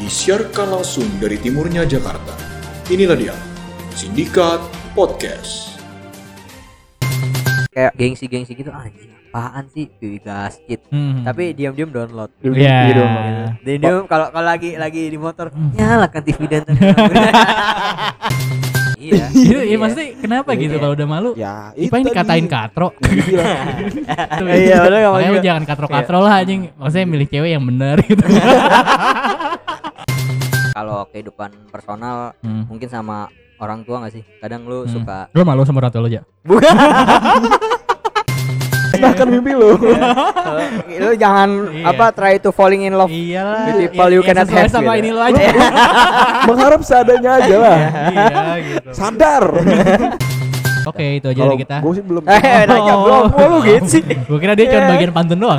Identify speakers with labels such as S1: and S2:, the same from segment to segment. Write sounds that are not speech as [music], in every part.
S1: disiarkan langsung dari timurnya Jakarta. Inilah dia, Sindikat Podcast.
S2: kayak gengsi-gengsi gitu anjing apaan sih cuy gasket
S3: Hmm.
S2: tapi diam-diam download
S3: Iya. Hmm.
S2: diam-diam kalau kalau lagi lagi di motor "Ya, nyalakan TV
S3: [laughs]
S2: dan iya
S3: Iya, iya pasti kenapa gitu
S2: Iya.
S3: kalau udah malu?
S4: Ya,
S3: Ipa ini dikatain katro.
S2: Iya, bener nggak
S3: Makanya
S2: maksudnya.
S3: jangan katro-katro lah anjing. Maksudnya milih cewek yang bener gitu.
S2: kalau kehidupan personal
S3: Hmm.
S2: mungkin sama orang tua gak sih kadang lu
S3: Hmm.
S2: suka
S3: [laughs] Lu malu sama ratu lu ya?
S4: Bahkan mimpi lu.
S2: Iya. lu jangan
S3: Iya.
S2: apa try to falling in love
S3: Iyalah.
S2: With people you cannot
S3: sesuai
S2: have gitu.
S3: sama ini lu aja.
S4: Mengharap seadanya aja lah.
S3: Iya gitu.
S4: Sadar.
S3: [laughs] Oke, itu aja
S4: Kalau
S3: dari iya, kita. Ah.
S4: gue sih belum.
S2: eh nanya belum Wah, lu gitu
S3: [laughs]
S2: sih
S3: Gue kira dia cuma bagian pantun doang.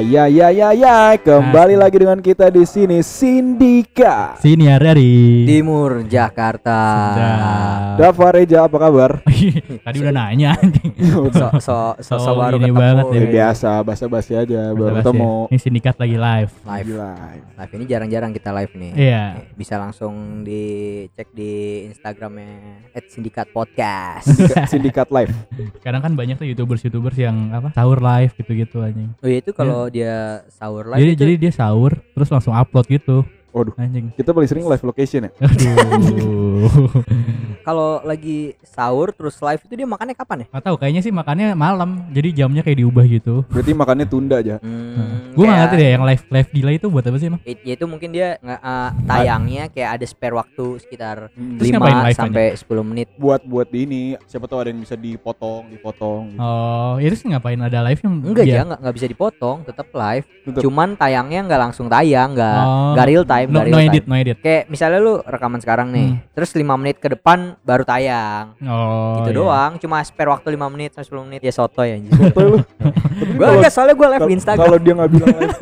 S4: Ya ya ya ya, kembali
S3: Ah.
S4: lagi dengan kita di sini Sindika.
S3: [laughs] Sini hari hari.
S2: timur Jakarta
S3: Ah.
S4: Dava Reja apa kabar?
S3: [laughs] Tadi udah nanya anjing.
S2: [laughs] so so so, so
S3: Oh,
S2: baru
S3: ini
S2: ketemu
S3: banget ya.
S4: Ya, biasa basa-basi aja baru
S3: Basa-basi.
S4: ketemu.
S3: Ini sindikat lagi [laughs] live.
S2: live
S4: Gila.
S2: live ini jarang-jarang kita live nih
S3: Iya.
S2: bisa langsung dicek di Instagramnya @sindikatpodcast.
S3: [laughs]
S4: Sindikat, sindikat live.
S3: Kadang kan banyak tuh youtubers-youtubers yang apa sahur live gitu-gitu anjing.
S2: Oh iya itu kalau dia sahur live
S3: Jadi
S2: itu
S3: jadi dia sahur terus langsung upload gitu
S4: Waduh,
S3: anjing. [laughs]
S4: kita paling sering live location ya.
S3: Aduh.
S2: kalau lagi sahur terus live itu dia makannya kapan ya?
S3: Gak tahu kayaknya sih makannya malam. Jadi jamnya kayak diubah gitu.
S4: Berarti makannya tunda aja.
S2: Hmm,
S3: Gue gak
S2: kayak-
S3: ngerti deh yang live live delay itu buat apa sih emang?
S2: it- Itu mungkin dia nge- eh, tayangnya kayak ada spare waktu sekitar
S4: Hmm.
S3: Terus
S2: 5
S3: ngapain live-nya?
S2: sampai 10 menit.
S4: Buat buat di ini, siapa tahu ada yang bisa dipotong, dipotong. Gitu.
S3: Oh, itu sih ngapain ada live yang
S2: Enggak ya,
S3: dia-
S2: enggak, enggak bisa dipotong, tetap live.
S4: Tetep.
S2: Cuman tayangnya enggak langsung tayang, enggak
S3: Oh.
S2: enggak real time,
S3: No,
S2: enggak
S3: no
S2: real
S3: edit,
S2: time.
S3: no edit.
S2: Kayak misalnya lu rekaman sekarang nih,
S4: Hmm.
S2: terus 5 menit ke depan baru tayang.
S3: Oh.
S2: gitu
S3: iya.
S2: doang cuma spare waktu 5 menit sampai 10 menit ya soto ya [laughs] anjir
S4: Sotoy
S3: [laughs]
S4: lu.
S2: gue enggak soalnya gue live
S4: Kal-
S2: di Instagram
S4: Kalau dia nggak bilang live,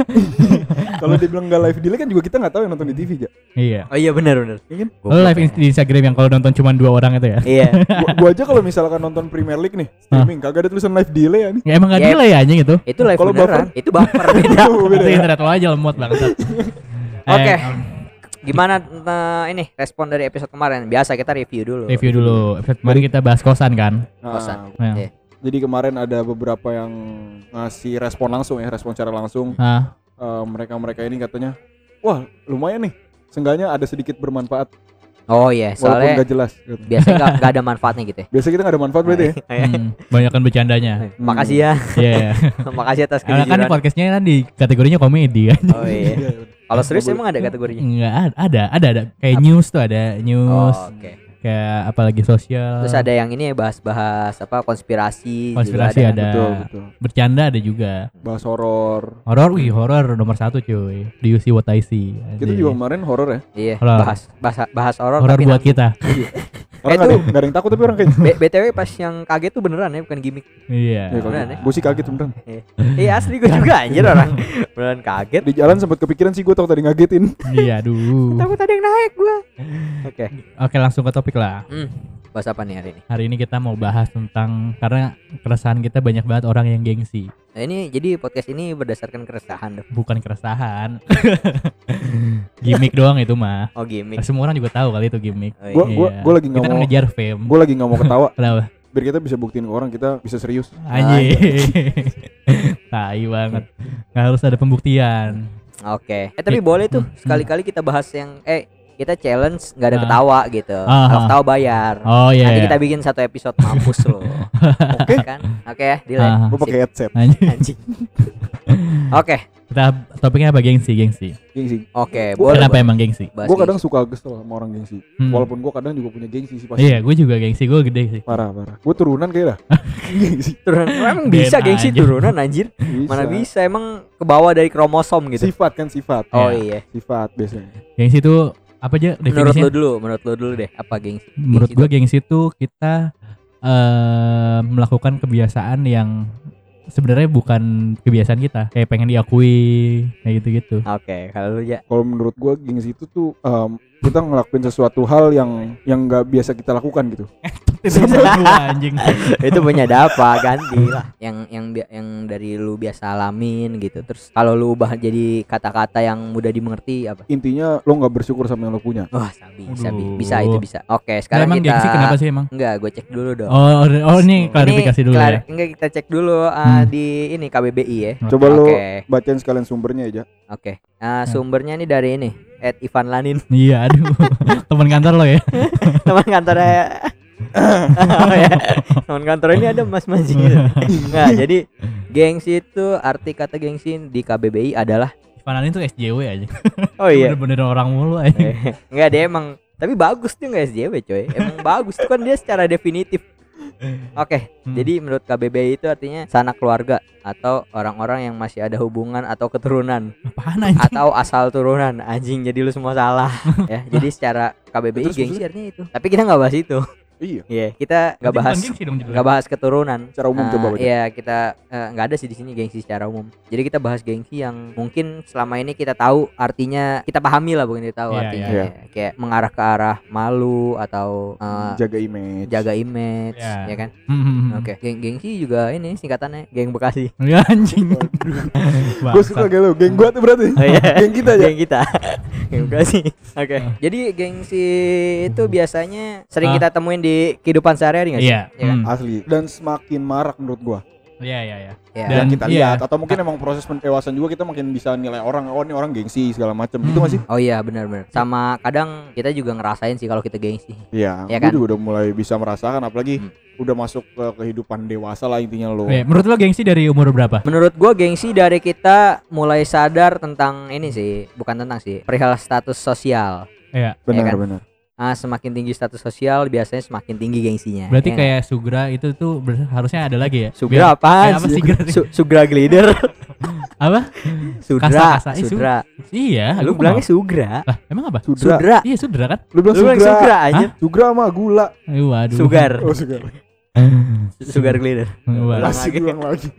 S2: [laughs]
S4: kalau dia bilang nggak live delay kan juga kita nggak tahu yang nonton di TV aja.
S3: Iya.
S2: oh iya benar benar
S4: Iya kan?
S3: Lo
S2: ya.
S3: live inst- di Instagram yang kalau nonton cuma dua orang itu ya? [laughs]
S4: [laughs]
S2: iya
S4: Gua, gua aja kalau misalkan nonton Premier League nih streaming, kagak ada tulisan live delay ya nih.
S3: Ya emang gak
S2: Yep.
S3: delay anjing itu.
S2: itu live
S4: Kalau
S2: beneran itu
S4: [laughs]
S2: baper Iya. beda
S4: Tuh, beda
S3: Itu
S4: ya.
S3: internet lo aja lemot Eh, banget.
S2: [laughs] oke gimana eh, ini respon dari episode kemarin biasa kita review dulu
S3: Review dulu. Episode kemarin kita bahas kosan kan.
S4: Nah,
S2: Kosan.
S3: Nah.
S2: Iya.
S4: jadi kemarin ada beberapa yang ngasih respon langsung ya, respon secara langsung.
S2: [laughs]
S3: Ah,
S4: Eh, Mereka-mereka ini katanya, wah lumayan nih. Seenggaknya ada sedikit bermanfaat
S2: oh iya
S4: walaupun
S2: soalnya
S4: nggak jelas. gitu.
S2: biasanya
S4: [laughs]
S2: nggak nggak ada manfaatnya gitu ya
S4: Biasanya kita nggak ada manfaat berarti
S2: [laughs]
S4: ya.
S2: Eh.
S3: hmm, banyakan bercandanya.
S2: makasih ya
S3: Iya.
S4: Hmm.
S2: [laughs] makasih atas
S3: Karena kan
S2: kejujuran
S3: podcastnya kan di kategorinya komedi kan.
S2: oh
S4: [laughs]
S2: iya
S4: Iya.
S2: kalau serius emang ada
S4: Hmm.
S2: kategorinya
S3: Enggak ada, ada, ada, ada. Kayak news tuh ada
S2: Oh,
S3: news,
S2: oke
S3: kayak apalagi sosial.
S2: terus ada yang ini ya, bahas-bahas apa konspirasi juga
S3: Eh, konspirasi ada,
S4: Betul, betul.
S3: bercanda ada juga.
S4: Bahas horor.
S3: Horor, wih horor nomor satu cuy. Do you see what I see?
S4: Kita
S3: Anjing.
S4: juga kemarin horor ya.
S2: iya
S3: Horor.
S2: bahas bahas bahas horor
S3: horor
S2: tapi
S3: buat
S2: nanti-
S3: kita.
S4: Orang
S2: Eh,
S4: nggak ada,
S2: tuh.
S4: yang- nggak ada yang takut tapi orang kayak. gitu.
S2: B- BTW pas yang kaget tuh beneran ya bukan gimmick
S3: Iya.
S4: Ya, kalau
S2: Beneran ya?
S4: gue sih kaget beneran.
S3: [laughs]
S2: Iya asli gue juga anjir orang Beneran kaget
S4: Di jalan sempat kepikiran sih gue tau tadi ngagetin.
S3: Iya,
S4: [laughs]
S3: aduh.
S2: Takut ada yang naik gue Oke
S3: Oke, langsung ke topik lah.
S2: hmm. Bahas apa nih hari ini?
S3: Hari ini kita mau bahas tentang karena keresahan kita banyak banget orang yang gengsi,
S2: Nah, ini jadi podcast ini berdasarkan keresahan dong
S3: bukan keresahan. [laughs] gimmick doang itu mah.
S2: Oh gimmick
S3: Semua orang juga tahu kali itu gimmick.
S2: Oh,
S4: Gue
S2: iya.
S4: gue
S3: Iya.
S4: gue lagi
S3: Kita
S4: nggak
S3: kan
S4: mau
S3: ngejar fame.
S4: gue lagi nggak mau ketawa
S3: Kenapa?
S4: biar kita bisa buktiin ke orang kita bisa serius.
S3: Anjir. [laughs] Tai banget. Nggak harus ada pembuktian.
S2: Oke Eh tapi boleh tuh Sekali-kali kita bahas yang Eh kita challenge nggak ada
S3: Hmm. Ah.
S2: ketawa gitu
S3: Ah,
S2: Kalau
S3: ah.
S2: ketawa bayar
S3: Oh iya.
S2: Nanti
S3: iya.
S2: kita bikin satu episode mampus
S3: [laughs]
S2: loh Oke kan? Oke ya delay
S3: Ah,
S4: Gue pakai headset.
S3: anjir.
S2: Anjing [laughs] Oke
S3: Kita topiknya apa gengsi, gengsi.
S4: gengsi
S2: Oke,
S4: Gua-
S2: boleh.
S3: Kenapa emang gengsi?
S4: gue
S2: Bahas gengsi.
S4: kadang suka kesel sama orang gengsi
S3: Hmm.
S4: walaupun gue kadang juga punya gengsi sih pasti
S3: Iya, gue juga gengsi, gue gede sih.
S4: parah parah gue turunan kayaknya dah gengsi
S2: turunan emang bisa
S3: Ben
S2: gengsi
S3: aja.
S2: turunan anjir. Mana bisa emang ke bawah dari kromosom gitu.
S4: sifat kan sifat
S2: Oh iya.
S3: Ya.
S4: sifat biasanya
S3: Gengsi itu apa
S2: Menurut
S3: aja
S2: lu
S3: definisinya?
S2: dulu, menurut lu dulu deh apa gengsi?
S3: Menurut
S2: gengsi
S3: gue gengsi itu kita eh, melakukan kebiasaan yang sebenarnya bukan kebiasaan kita, kayak pengen diakui, kayak gitu-gitu.
S2: Oke, kalau lu ya.
S4: kalau menurut gue gengsi itu tuh em, kita ngelakuin sesuatu hal yang yang nggak biasa kita lakukan gitu
S3: Sama [laughs] gua, anjing.
S2: itu penyadapa ganti lah yang yang bi- yang dari lu biasa alamin gitu terus kalau lu ubah jadi kata-kata yang mudah dimengerti apa
S4: intinya lo nggak bersyukur sama yang lo punya
S2: wah sabi
S3: Aduh.
S2: sabi bisa itu bisa oke
S3: Nah,
S2: sekarang
S3: emang
S2: kita
S3: gengsi kenapa sih emang?
S2: enggak gue cek dulu dong
S3: Oh, oh ini
S4: Ini
S3: klarifikasi dulu
S2: kelar-
S3: ya.
S2: enggak kita cek dulu uh,
S3: Hmm.
S2: di ini KBBI ya
S4: coba lo
S2: Oke.
S4: bacain sekalian sumbernya aja
S2: oke
S3: Hmm.
S2: Nah, sumbernya ini dari ini Ed Ivan Lanin [laughs]
S3: Iya, aduh. Teman kantor lo ya.
S2: teman kantornya Oh, ya. teman kantor ini ada mas mas
S3: [laughs]
S2: gitu nah jadi gengsi itu arti kata gengsi di KBBI adalah
S3: Fananin tuh SJW aja.
S2: oh iya [laughs]
S3: Bener-bener orang mulu aja.
S2: Eh, Enggak dia emang tapi bagus dia nggak SJW coy emang bagus itu kan dia secara definitif oke
S3: Hmm.
S2: jadi menurut KBBI itu artinya sanak keluarga atau orang-orang yang masih ada hubungan atau keturunan
S3: Apaan anjing?
S2: atau asal turunan anjing jadi lu semua salah ya jadi secara KBBI
S4: Terus
S2: gengsi
S4: maksudnya?
S2: artinya itu tapi kita nggak bahas itu
S4: iya
S2: Iya kita nggak
S3: Berarti
S2: bahas
S3: bukan gengsi dong judulnya.
S2: nggak bahas keturunan
S4: Secara umum
S2: Ah,
S4: coba baca.
S2: iya kita eh, nggak ada sih di sini gengsi secara umum jadi kita bahas gengsi yang mungkin selama ini kita tahu artinya kita pahami lah bukan kita tahu
S3: Iya,
S2: artinya
S4: iya.
S2: Ya, kayak mengarah ke arah malu atau eh,
S4: jaga image
S2: jaga image
S3: Iya.
S2: ya kan
S3: Hmm.
S2: oke geng gengsi juga ini singkatannya geng bekasi
S3: Ya anjing.
S4: gue suka
S3: Bangsat.
S4: kayak lo geng gua tuh berarti
S2: Oh, iya.
S4: geng
S3: Gitu
S4: kita aja
S2: geng
S3: [laughs]
S2: kita geng bekasi oke jadi gengsi itu biasanya sering
S3: Ah.
S2: kita temuin di kehidupan sehari-hari nggak sih
S3: Iya.
S2: Ya kan?
S3: hmm.
S4: asli dan semakin marak menurut gua
S3: Iya, iya, iya.
S2: Iya.
S3: Dan-
S4: yang kita
S3: iya.
S4: lihat atau mungkin emang proses pendewasaan juga kita makin bisa nilai orang oh ini orang gengsi segala macam gitu masih
S2: Oh iya benar-benar. Sama kadang kita juga ngerasain sih kalau kita gengsi.
S4: Iya, ya
S2: Iya kan?
S4: juga udah mulai bisa merasakan apalagi
S2: Hmm.
S4: udah masuk ke kehidupan dewasa lah intinya lo.
S3: Oke, menurut lo gengsi dari umur berapa?
S2: Menurut gua gengsi dari kita mulai sadar tentang ini sih, bukan tentang sih, perihal status sosial.
S3: Iya.
S4: Benar,
S2: Iya kan?
S4: benar.
S2: Ah, semakin tinggi status sosial biasanya semakin tinggi gengsinya.
S3: Berarti
S2: ya kan?
S3: kayak sugra itu tuh ber- harusnya ada lagi ya.
S2: Sugra
S3: Biar-
S2: apaan?
S3: kayak apa sih?
S2: Sugra- Su- sugra glider.
S3: Apa?
S2: Sudra,
S3: [laughs] Kasa-kasa, eh, su-
S2: sudra.
S3: Iya,
S2: Lu
S3: gua
S2: bilangnya
S3: kenal.
S2: sugra.
S3: Lah, emang apa?
S4: Sudra.
S2: Sudra.
S3: Iya, sudra kan?
S4: Lu bilang
S2: Lu bilang
S4: sugra.
S2: sugra aja.
S4: Sugra sama gula.
S3: Eh, Waduh. [laughs]
S2: Sugar.
S4: Oh, sugar.
S2: Sugar glider.
S3: Waduh.
S4: Masih
S2: lagi.
S4: ulang lagi.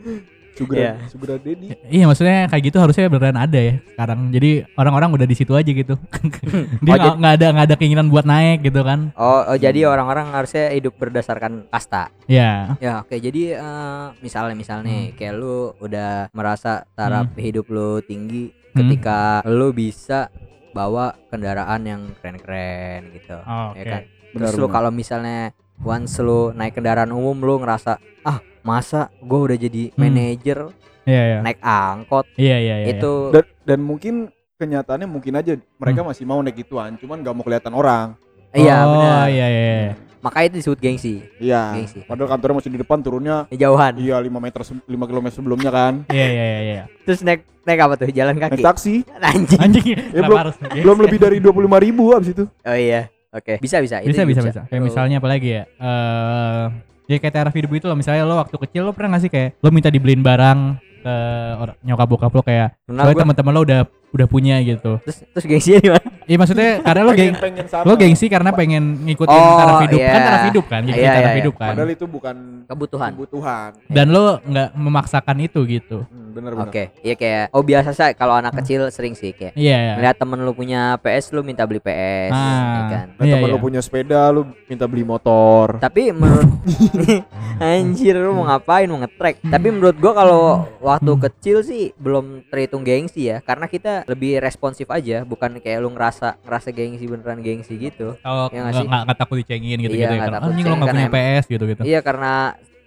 S4: Sugra,
S2: Iya.
S4: sugra daddy.
S3: Iya maksudnya kayak gitu harusnya beneran ada ya sekarang. Jadi orang-orang udah di situ aja gitu.
S2: [laughs]
S3: Dia
S2: Oh,
S3: nggak nggak ada nggak ada keinginan buat naik gitu kan?
S2: Oh, oh, jadi orang-orang harusnya hidup berdasarkan kasta.
S3: Ya.
S2: Ya oke jadi eh, misalnya misalnya
S3: Hmm.
S2: kayak lu udah merasa taraf hidup lu tinggi
S3: Hmm.
S2: ketika lu bisa bawa kendaraan yang keren-keren gitu
S3: Oh,
S2: ya kan
S4: Benar,
S2: terus lu
S4: benar.
S2: kalau misalnya once lu naik kendaraan umum lu ngerasa ah masa gua udah jadi
S3: Hmm.
S2: manajer
S3: Iya iya.
S2: naik angkot
S3: Iya iya iya.
S2: itu
S4: Dan, dan mungkin kenyataannya mungkin aja mereka masih mau naik gituan, cuman gak mau kelihatan orang.
S2: iya
S3: oh,
S2: benar
S3: iya iya. iya.
S2: makanya itu disebut gengsi
S4: Iya.
S2: Gengsi.
S4: Padahal kantornya masih di depan turunnya
S2: jauhan
S4: iya 5 meter 5 km sebelumnya kan.
S3: Iya iya iya.
S2: [laughs]
S3: iya.
S2: terus naik naik apa tuh jalan
S4: Naik
S2: kaki
S4: taksi
S2: [laughs] anjing
S3: Anjing.
S4: Ya,
S3: kenapa
S4: belum-
S3: harus naik?
S4: belum lebih dari 25 ribu abis itu.
S2: oh iya oke bisa bisa itu
S3: Bisa bisa
S2: juga
S3: bisa. Kayak
S2: Oh.
S3: misalnya apa lagi ya? Eh ya kayak taraf hidup itu loh misalnya lo waktu kecil lo pernah nggak sih kayak lo minta dibeliin barang ke orang nyokap bokap lo kayak
S2: Pernah
S3: lo
S2: gua-
S3: teman-teman lo udah udah punya gitu.
S2: terus terus gengsinya gimana
S3: Iya
S2: [laughs]
S3: maksudnya karena lo geng
S4: pengen sama.
S3: lo gengsi karena pengen ngikutin
S2: Oh,
S3: taraf hidup kan
S2: iya.
S3: taraf hidup kan ngikutin
S2: Iya,
S3: taraf
S2: iya,
S3: hidup kan
S4: Padahal itu bukan
S2: kebutuhan
S4: kebutuhan.
S3: dan lo nggak memaksakan itu gitu
S4: Hmm, benar benar.
S2: Oke, iya kayak oh biasa sih kalau anak kecil sering sih kayak
S3: iya Ah. iya.
S2: melihat temen lu punya PS lu minta beli PS ya
S3: Ah,
S2: kan.
S4: Nah,
S3: iya,
S4: temen
S3: iya.
S4: lu punya sepeda, lu minta beli motor.
S2: Tapi menurut [laughs] anjir lu mau ngapain mau ngetrek. Tapi menurut gua kalau waktu
S3: Hmm.
S2: kecil sih belum terhitung gengsi ya karena kita lebih responsif aja bukan kayak lu ngerasa ngerasa gengsi beneran gengsi gitu.
S3: kalau
S2: Iya nggak
S3: nggak
S2: sih?
S3: nggak nggak takut dicengin gitu
S2: Iya,
S3: gitu ya
S2: nggak
S3: kan
S2: takut
S3: anjing lo nggak
S2: dicengin
S3: punya
S2: karena
S3: PS gitu gitu
S2: Iya karena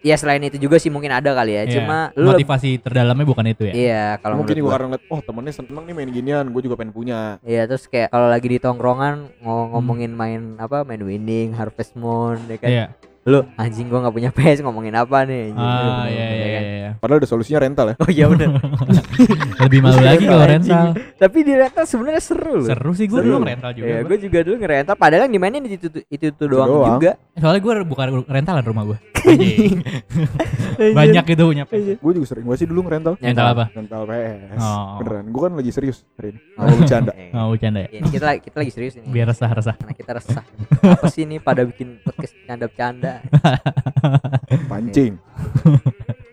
S2: ya selain itu juga sih mungkin ada kali ya.
S3: Iya.
S2: Cuma lu lebih
S3: motivasi terdalamnya bukan itu ya
S2: Iya kalau
S4: Mungkin
S2: menurut
S4: juga
S2: gua.
S4: karena ngeliat, oh temennya seneng nih main ginian, gue juga pengen punya.
S2: Iya terus kayak kalau lagi di tongkrongan ngo- ngomongin main apa main winning harvest moon ya kan.
S3: iya
S2: lu anjing gua nggak punya [laughs] PS ngomongin apa nih anjing?"
S3: ah
S2: Gitu,
S3: ya ya
S2: ya
S3: ya,
S2: kan?
S3: ya.
S4: Padahal udah solusinya rental ya.
S2: oh iya
S3: [laughs]
S2: bener
S3: lebih malu lagi kalau rental
S2: Iya, Anjing. tapi di rental sebenarnya seru loh
S3: seru sih gue
S2: Seru.
S3: dulu rental juga
S2: ya
S3: gua.
S2: gue juga dulu ngerental padahal yang dimainin itu itu, itu doang,
S4: doang.
S2: juga
S3: soalnya gue bukan rentalan rumah gue banyak itu punya
S2: Anjir.
S4: Gue juga sering. Gue sih dulu ngerental.
S3: rental apa
S4: Rental PS.
S3: Oh.
S4: Beneran. Gue kan lagi serius hari ini. Nggak mau
S2: [laughs]
S4: bercanda.
S2: Eh,
S3: mau bercanda ya
S2: ini kita lagi kita lagi serius ini
S3: biar resah resah
S2: karena kita resah apa sih ini pada bikin podcast canda-canda
S3: [laughs]
S4: Pancing.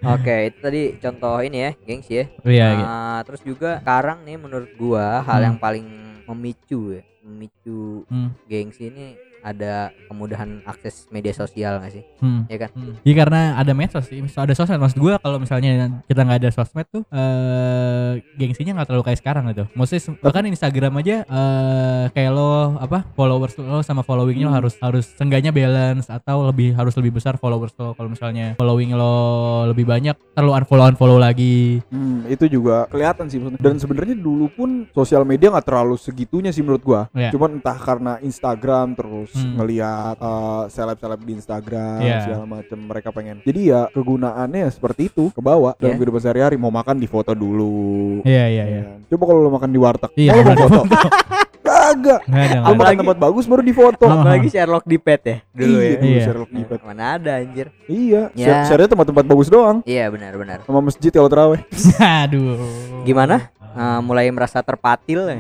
S2: oke itu tadi contoh ini ya gengs ya
S3: iya
S2: Nah,
S3: gitu.
S2: terus juga sekarang nih menurut gua hal
S3: Hmm.
S2: yang paling memicu ya memicu
S3: Hmm,
S2: gengsi ini ada kemudahan akses media sosial nggak sih
S3: hmm.
S2: ya kan
S3: Hmm. Iya karena ada medsos sih, Mis- ada sosmed maksud gue kalau misalnya kita nggak ada sosmed tuh eh gengsinya nggak terlalu kayak sekarang gitu. Maksudnya se- bahkan Instagram aja eh kayak lo apa followers lo sama followingnya lo harus harus sengganya balance atau lebih harus lebih besar followers lo kalau misalnya following lo lebih banyak terlalu unfollow unfollow lagi.
S4: Hmm, itu juga kelihatan sih maksudnya. Dan sebenarnya dulu pun sosial media nggak terlalu segitunya sih menurut gua.
S3: Iya.
S4: Cuman entah karena Instagram terus
S3: Hmm.
S4: ngelihat eh, seleb-seleb di Instagram
S3: Iya.
S4: segala macem mereka pengen. Jadi ya kegunaannya sehari-hari itu ke bawah dalam
S2: Iya.
S4: kehidupan sehari-hari mau makan di foto dulu.
S3: Iya iya iya.
S4: Iya. Coba kalau lo makan di warteg,
S3: Iya,
S4: mau lo mau
S3: bener.
S4: foto. [laughs] Kagak.
S3: Nggak ada.
S4: Lo
S3: nggak ada.
S4: makan
S2: Apalagi-
S4: tempat bagus baru di foto.
S3: Apa?
S2: apalagi Sherlock di pet ya dulu
S4: iya,
S2: ya
S4: dulu
S3: Iya.
S4: Sherlock Nipet.
S2: mana ada anjir
S4: Iya.
S2: Ya.
S4: Share- share-nya tempat-tempat bagus doang.
S2: iya benar-benar
S4: Sama masjid kalau terawih.
S3: [laughs] Iya. Aduh.
S2: gimana Eh, mulai merasa terpatil ya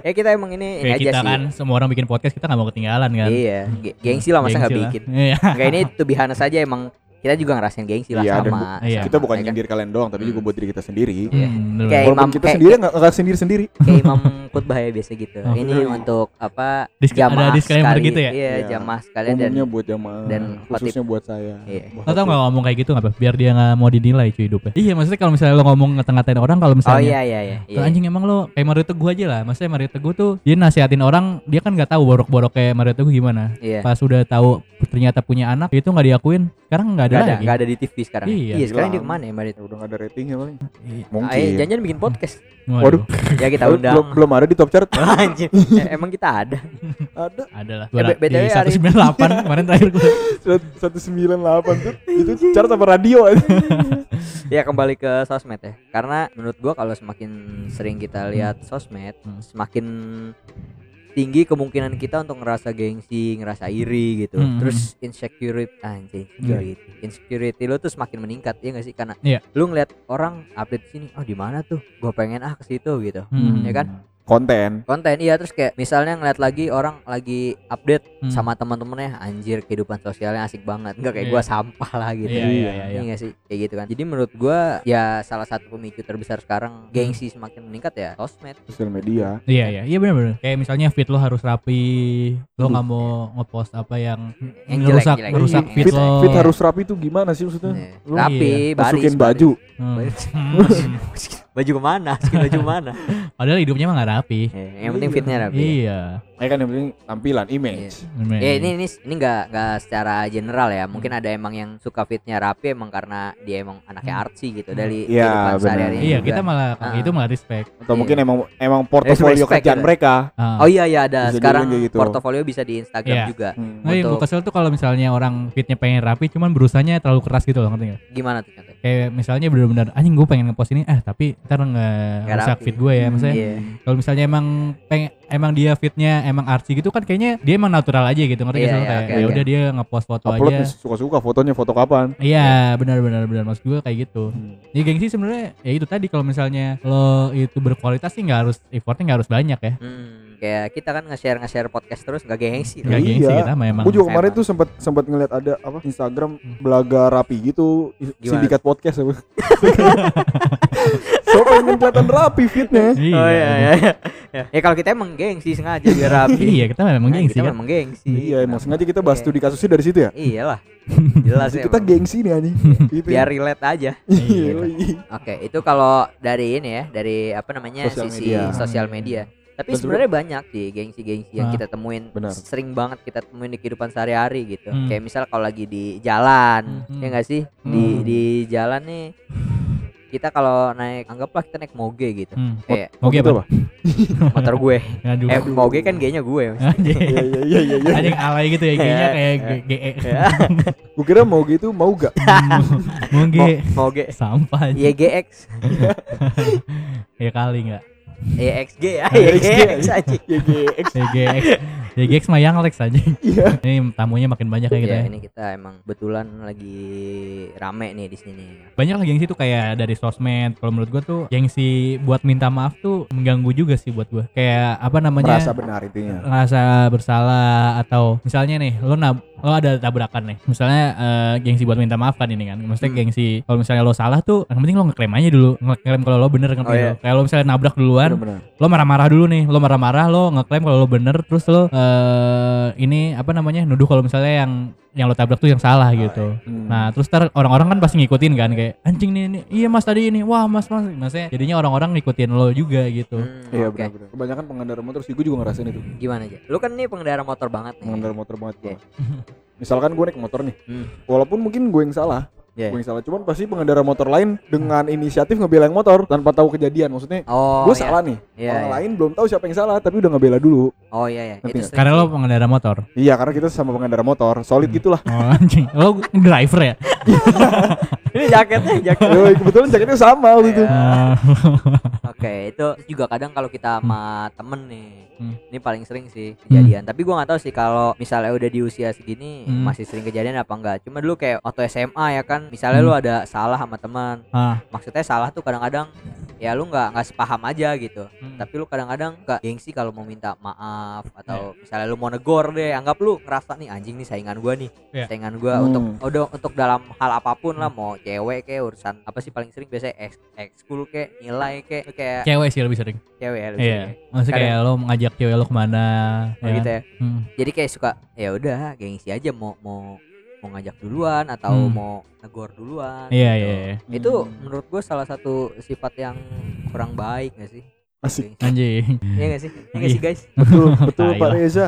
S2: ya kita emang ini, ini
S3: Iya. Kayak
S2: aja
S3: kita
S2: sih
S3: kan semua orang bikin podcast kita nggak mau ketinggalan kan.
S2: iya ge- gengsi lah masa nggak
S3: Gengsi lah.
S2: bikin
S3: Iya.
S2: Enggak ini to be honest aja emang kita juga ngerasain gengsi lah
S4: Iya, dan
S2: sama.
S3: iya.
S2: sama,
S4: Kita bukan
S2: ya kan?
S4: nyindir kalian doang, tapi juga buat diri kita sendiri.
S2: Iya.
S3: [laughs] Hmm, bener.
S2: Kayak
S4: Walaupun kita
S2: Imam- kayak- gitu.
S4: sendiri nggak nggak sendiri-sendiri.
S2: kayak imam khutbah ya biasa gitu.
S3: Oh.
S2: ini untuk apa
S3: Disc- ada
S2: jamaah
S3: disclaimer
S2: sekali-
S3: gitu ya?
S2: Iya,
S4: Iya.
S2: jamaah sekalian dan
S4: Umumnya buat jamaah,
S2: dan
S4: khususnya buat saya.
S2: Iya.
S3: Lo tau gak ngomong kayak gitu gak apa? Biar dia gak mau dinilai cuy hidupnya Iya maksudnya kalau misalnya lo ngomong ngeteng-ngetain orang kalau
S2: Oh
S3: misalnya
S2: iya iya iya. iya.
S3: "Tuh, anjing emang lo kayak Mario Teguh aja lah Maksudnya Mario Teguh tuh dia nasihatin orang Dia kan gak tahu borok-borok kayak Mario Teguh gimana
S2: Iya.
S3: Pas udah tahu ternyata punya anak itu gak diakuin Sekarang gak
S2: Enggak
S3: ada
S2: ada,
S3: lagi
S2: enggak ada di TV sekarang. ya?
S3: Iya,
S2: Iya, sekarang dia
S4: hilang.
S2: kemana ya, Mbak Dit?
S4: udah nggak ada ratingnya paling. Mungkin.
S2: Ayo jangan bikin podcast.
S3: Waduh,
S2: ya kita
S4: Belum- belum,
S2: undang. [laughs]
S4: belum ada di top chart.
S2: Anjir. Eh, emang kita ada.
S4: ada
S3: ada lah
S2: Eh, B- BTW
S3: Di
S2: hari-
S3: 198 kemarin terakhir
S2: [laughs]
S3: gue
S4: 198 tuh. Itu chart apa radio?
S2: Ya kembali ke sosmed ya. Karena menurut gua kalau semakin sering kita lihat sosmed,
S3: Hmm.
S2: semakin tinggi kemungkinan kita untuk ngerasa gengsi, ngerasa iri gitu.
S3: Hmm.
S2: Terus insecurity anjing, insecurity. Insecurity lo tuh semakin meningkat ya gak sih? Karena
S3: Iya.
S2: lu ngeliat orang update sini, oh di mana tuh? Gua pengen ah ke situ gitu.
S3: Hmm.
S2: Ya kan?
S4: Konten.
S2: Konten iya terus kayak misalnya ngeliat lagi orang lagi update
S3: Hmm.
S2: sama teman-temannya anjir kehidupan sosialnya asik banget. Enggak kayak
S3: Iya.
S2: gua sampah lah gitu.
S3: Iya iya iya,
S2: Iya
S3: iya
S2: nggak sih kayak gitu kan. Jadi menurut gua ya salah satu pemicu terbesar sekarang gengsi semakin meningkat ya sosmed.
S4: Sosial media.
S3: Iya iya iya benar benar. Kayak misalnya feed lo harus rapi,
S4: Aduh.
S3: lo nggak mau ngepost apa yang,
S2: Yang
S3: Hmm, ngerusak
S2: jelek-jelek.
S3: ngerusak
S2: Iya,
S3: feed
S4: Fit,
S3: lo.
S4: fit harus rapi tuh gimana sih maksudnya?
S2: Iya.
S4: Lu
S2: Rapi, baris,
S4: Masukin
S2: baris.
S4: baju.
S3: Hmm.
S2: Baris. baju kemana? Masukin baju kemana?
S3: [laughs] Padahal hidupnya emang gak rapi.
S2: Eh, yang penting fitnya rapi.
S3: Iya. Iya.
S4: Ya kan yang penting tampilan, image.
S3: men.
S2: Ya ini ini ini nggak nggak secara general ya. Mungkin
S3: Hmm.
S2: ada emang yang suka fitnya rapi emang karena dia emang anaknya artsy gitu dari
S4: Iya, benar.
S2: sehari-hari.
S3: Hmm. Iya, kita malah kalau
S2: Ah.
S3: itu malah respect.
S4: Atau
S2: Iya.
S4: mungkin emang emang portofolio
S2: respect
S4: kerjaan
S2: gitu.
S4: mereka.
S3: Ah.
S2: Oh iya iya ada
S4: Bisa
S2: sekarang
S4: dibilang kayak gitu.
S2: portofolio bisa di Instagram
S3: Iya.
S2: juga.
S4: Hmm.
S3: Nah, yang gue
S2: untuk-
S3: kesel tuh kalau misalnya orang fitnya pengen rapi cuman berusahanya terlalu keras gitu loh, ngerti gak?
S2: Gimana tuh contohnya?
S3: Kayak misalnya benar-benar anjing gue pengen ngepost ini eh tapi ntar
S2: rapi.
S3: ngerusak fit gue ya maksudnya.
S2: Iya.
S3: Kalau misalnya emang pengen emang dia fitnya emang artsy gitu kan kayaknya dia emang natural aja gitu, ngerti
S2: Iya,
S3: gak? Soalnya
S2: iya,
S3: kayak
S2: oke,
S3: ya
S2: oke.
S3: udah dia ngepost foto
S4: Upload
S3: aja.
S4: nih, suka-suka fotonya foto kapan.
S3: Iya, benar-benar benar maksud gue kayak gitu.
S4: Hmm.
S3: Ya gengsi sebenarnya ya itu tadi kalau misalnya lo itu berkualitas sih nggak harus effortnya nggak harus banyak ya.
S2: Hmm, kayak kita kan nge-share nge-share podcast terus nggak gengsi.
S3: Nggak
S4: Iya.
S3: gengsi kita mah emang.
S4: Gue juga kemarin
S2: Emang.
S4: tuh sempat sempat ngeliat ada apa Instagram
S3: Hmm.
S4: belaga rapi gitu i-
S2: Gimana?
S4: sindikat podcast apa. so pengen kelihatan rapi fitnya.
S2: Oh iya iya. iya. Ya, ya kalau kita emang gengsi sengaja biar rapi.
S3: Iya, kita memang
S2: Nah,
S3: gengsi
S2: Kita
S3: kan.
S2: memang gengsi.
S4: Iya, emang sengaja kita bahas
S2: Iya.
S4: studi kasusnya dari situ ya.
S3: [laughs]
S2: Iyalah. Jelas ya.
S4: Kita
S2: emang.
S4: gengsi nih anjing. Gitu ya.
S2: biar relate aja.
S4: Iya.
S2: Oke, itu kalau dari ini ya, dari apa namanya
S4: Sosial
S2: sisi
S4: media.
S2: sosial media. Tapi
S4: Dan
S2: sebenarnya banyak sih gengsi-gengsi yang
S3: Ah,
S2: kita temuin.
S4: benar.
S2: Sering banget kita temuin di kehidupan sehari-hari gitu.
S3: Hmm.
S2: Kayak misal kalau lagi di jalan, ya
S3: Hmm, hmm.
S2: enggak sih? Di
S3: Hmm.
S2: di jalan nih kita kalau naik anggaplah kita naik moge gitu
S3: Hmm.
S2: kayak
S3: Oke
S4: Itu
S3: apa?
S4: apa?
S2: motor
S3: [laughs]
S2: gue
S3: Aduh.
S2: eh moge kan g-nya gue
S3: Anjing.
S4: Iya iya iya iya.
S3: Ada yang alay gitu ya, G-nya
S2: Iya,
S3: kayak GE. [laughs]
S4: Gue kira mau gitu mau gak?
S2: Mo-
S3: Mungkin
S2: moge
S3: sampah
S2: Iya,
S3: aja.
S2: YGX Iya.
S3: Ya kali enggak.
S2: YXG ya YGX anjing
S4: Iya iya. X.
S3: GX. GX mah yang Lex aja. [laughs] Ini tamunya makin banyak kayak gitu
S2: ya
S3: ya.
S2: Iya. ini kita emang kebetulan lagi rame nih di sini
S3: Banyak lah gengsi tuh kayak dari sosmed. Kalau menurut gua tuh gengsi buat minta maaf tuh mengganggu juga sih buat gua. Kayak apa namanya?
S4: Merasa benar
S2: Iya.
S4: intinya.
S3: rasa bersalah atau misalnya nih lo nab lo ada tabrakan nih misalnya eh, gengsi buat minta maaf kan ini kan maksudnya
S2: Hmm.
S3: gengsi kalau misalnya lo salah tuh yang penting lo ngeklaim aja dulu ngeklaim kalau lo bener
S2: Oh,
S3: ngerti
S2: iya.
S3: lo kayak lo misalnya nabrak duluan
S4: Benar-benar.
S3: lo marah-marah dulu nih lo marah-marah lo ngeklaim kalau lo bener terus lo eh, ini apa namanya nuduh kalau misalnya yang yang lo tabrak tuh
S2: Oh,
S3: yang salah gitu
S2: iya.
S4: Hmm.
S3: Nah terus ntar orang-orang kan pasti ngikutin kan kayak anjing nih, nih iya mas tadi ini wah mas mas maksudnya jadinya orang-orang ngikutin lo juga gitu
S2: Hmm,
S4: Iya
S2: oke.
S4: benar-benar. Kebanyakan pengendara motor sih gue juga ngerasain itu.
S2: gimana aja lu kan nih pengendara motor banget nih
S4: Pengendara motor banget gue.
S2: Iya.
S4: Misalkan gue naik motor nih,
S2: Hmm.
S4: walaupun mungkin gue yang salah,
S2: Iya.
S4: gue yang salah, cuman pasti pengendara motor lain dengan inisiatif ngebelain motor tanpa tahu kejadian. Maksudnya
S2: oh
S4: gue
S2: iya.
S4: salah nih,
S2: Iya,
S4: orang
S2: iya.
S4: lain belum tahu siapa yang salah, tapi udah ngebela dulu.
S2: oh iya ya
S4: Ngerti
S2: itu
S4: nggak?
S2: sering
S3: karena
S2: sih.
S3: lo pengendara motor
S4: Iya, karena kita sama pengendara motor, solid gitulah.
S3: Oh anjing, lo driver
S2: [laughs]
S3: ya?
S2: Ini jaketnya jaket
S4: Yoi, kebetulan jaketnya sama waktu itu.
S2: Ya.
S3: Hmm.
S2: oke itu juga kadang kalau kita sama temen nih
S3: Hmm.
S2: ini paling sering sih kejadian tapi gua nggak tahu sih kalau misalnya udah di usia segini
S3: Hmm.
S2: masih sering kejadian apa enggak cuma dulu kayak waktu SMA ya kan misalnya
S3: Hmm.
S2: lu ada salah sama teman
S3: Ah.
S2: maksudnya salah tuh kadang-kadang ya lu nggak nggak sepaham aja gitu tapi lu kadang-kadang gak gengsi kalau mau minta maaf atau
S3: Iya.
S2: misalnya lu mau negor deh anggap lu ngerasa nih anjing nih saingan gua nih
S3: Iya. Hmm.
S2: saingan gua
S4: Hmm.
S2: untuk udah untuk dalam hal apapun lah mau cewek kayak urusan apa sih paling sering biasanya ex ekskul kayak nilai kayak lu kayak
S3: cewek sih lebih sering.
S2: cewek ya lu
S3: Iya.
S2: sering.
S3: Maksudnya kayak lo ngajak cewek lo kemana?
S2: Oh, gitu ya
S3: Hmm.
S2: jadi kayak suka ya udah gengsi aja mau mau mau ngajak duluan atau
S3: Hmm.
S2: mau negor duluan
S3: Iya
S2: gitu.
S3: iya. iya.
S2: itu
S4: Hmm.
S2: menurut gua salah satu sifat yang kurang baik gak sih
S4: Asik.
S2: Gengsi.
S3: Anjing. [laughs]
S2: Iya gak sih Iya gak sih guys
S4: Betul, betul
S3: Tai
S4: Pak
S3: lah.
S4: Reza.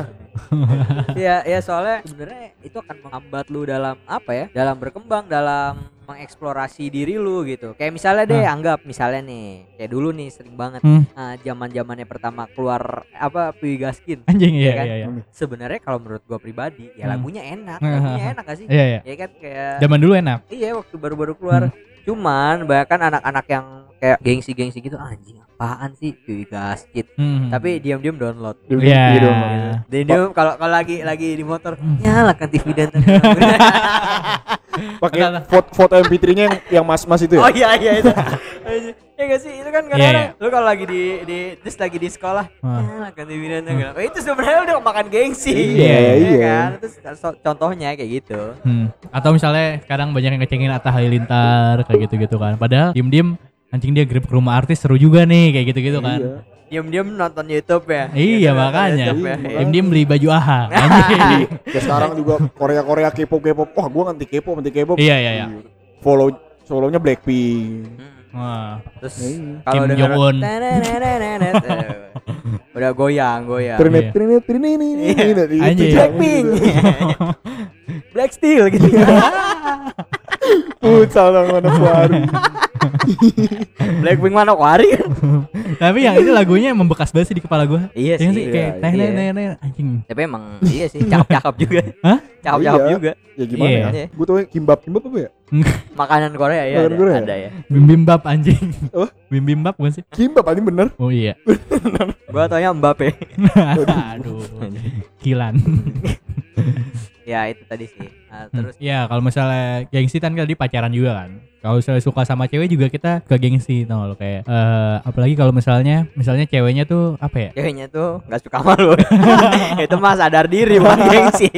S2: Iya, ya soalnya sebenarnya itu akan menghambat lu dalam apa ya? Dalam berkembang, dalam mengeksplorasi diri lu gitu. Kayak misalnya deh, anggap misalnya nih, kayak dulu nih sering banget
S3: Hmm.
S2: eh, zaman-zamannya pertama keluar apa Puyi Gaskin.
S3: Anjing
S2: Iya
S3: iya
S2: kan?
S3: iya iya.
S2: Sebenarnya kalau menurut gua pribadi, ya
S3: Hmm.
S2: lagunya enak,
S3: Hmm. [laughs]
S2: lagunya enak gak sih?
S3: Iya iya.
S2: Ya kan kayak
S3: Zaman dulu enak.
S2: iya waktu baru-baru
S3: Hmm.
S2: keluar. Cuman bahkan anak-anak yang kayak gengsi-gengsi gitu anjing apaan sih Puyi Gaskin.
S3: Hmm.
S2: Tapi diam-diam download.
S3: Iya.
S4: Iya dong, Pak Reza.
S2: Jadi dia kalau kalau lagi lagi di motor
S3: Hmm.
S2: nyalakan TV
S3: [laughs]
S2: dan
S4: Pakai
S3: Enggak lah.
S4: foto, foto MP3-nya yang yang mas-mas itu
S2: [laughs] Oh
S4: ya.
S2: iya iya itu. ya gak sih itu kan kadang
S3: Iya,
S2: lu kalau lagi di di terus lagi di sekolah
S3: Ah.
S2: nyalakan TV dan oh, itu sebenarnya udah makan gengsi.
S4: Iya,
S2: Ya
S4: iya.
S2: kan? Terus so- contohnya kayak gitu.
S3: Hmm. Atau misalnya sekarang banyak yang ngecengin Atta Halilintar kayak gitu-gitu kan. Padahal diem-diem anjing dia grip ke rumah artis seru juga nih kayak gitu-gitu kan.
S4: Iya.
S2: Diam-diam nonton YouTube ya. Diam-diam
S3: Iya,
S2: nonton
S3: makanya.
S2: YouTube ya.
S4: Iya.
S3: Diem-diem beli baju AHA. Anjing.
S4: Ya sekarang juga Korea-Korea K-pop K-pop. Wah, gua nganti K-pop, nganti K-pop.
S3: Iya iya iya.
S4: Follow solonya Blackpink.
S2: Hmm.
S3: Wah.
S2: [laughs] Terus
S4: Iya.
S2: kalau
S3: Kim
S2: dengar
S3: Jong Un.
S2: Tenenenenenet, eh, udah goyang goyang.
S4: Trinet
S3: Iya.
S4: trinet trinet ini ini ini, ini, itu
S3: Anjing.
S4: jangan
S2: Blackpink. [laughs] Black Steel gitu. [laughs]
S4: Futsal dong mana baru.
S2: Blackpink mana wari?
S3: Tapi yang itu lagunya membekas banget sih di kepala gua.
S2: Iya
S3: Yang
S2: sih.
S3: sih kayak
S4: iya,
S3: teh
S2: iya.
S3: teh teh teh anjing.
S2: Tapi emang iya sih cakep-cakep juga.
S3: Hah?
S2: Cakep-cakep
S4: Iya.
S2: juga.
S4: Ya gimana
S3: Iya.
S4: ya? Gue tau kimbab kimbab apa ya?
S2: Makanan Korea ya
S4: Makanan
S2: ada,
S4: Korea?
S2: ada ya.
S3: Bim bim bab anjing.
S4: Apa?
S3: Bim bim bab bukan sih?
S4: Kimbab anjing bener.
S3: Oh iya.
S2: Gua taunya Mbappe.
S3: Aduh. Kilan.
S2: [laughs] ya itu tadi sih. Nah, terus
S3: ya kalau misalnya gengsi kan tadi pacaran juga kan. Kalau misalnya suka sama cewek juga kita ke gengsi tau lo kayak eh, apalagi kalau misalnya misalnya ceweknya tuh apa ya?
S2: ceweknya tuh nggak suka sama lu. [laughs] itu mah sadar diri bukan gengsi.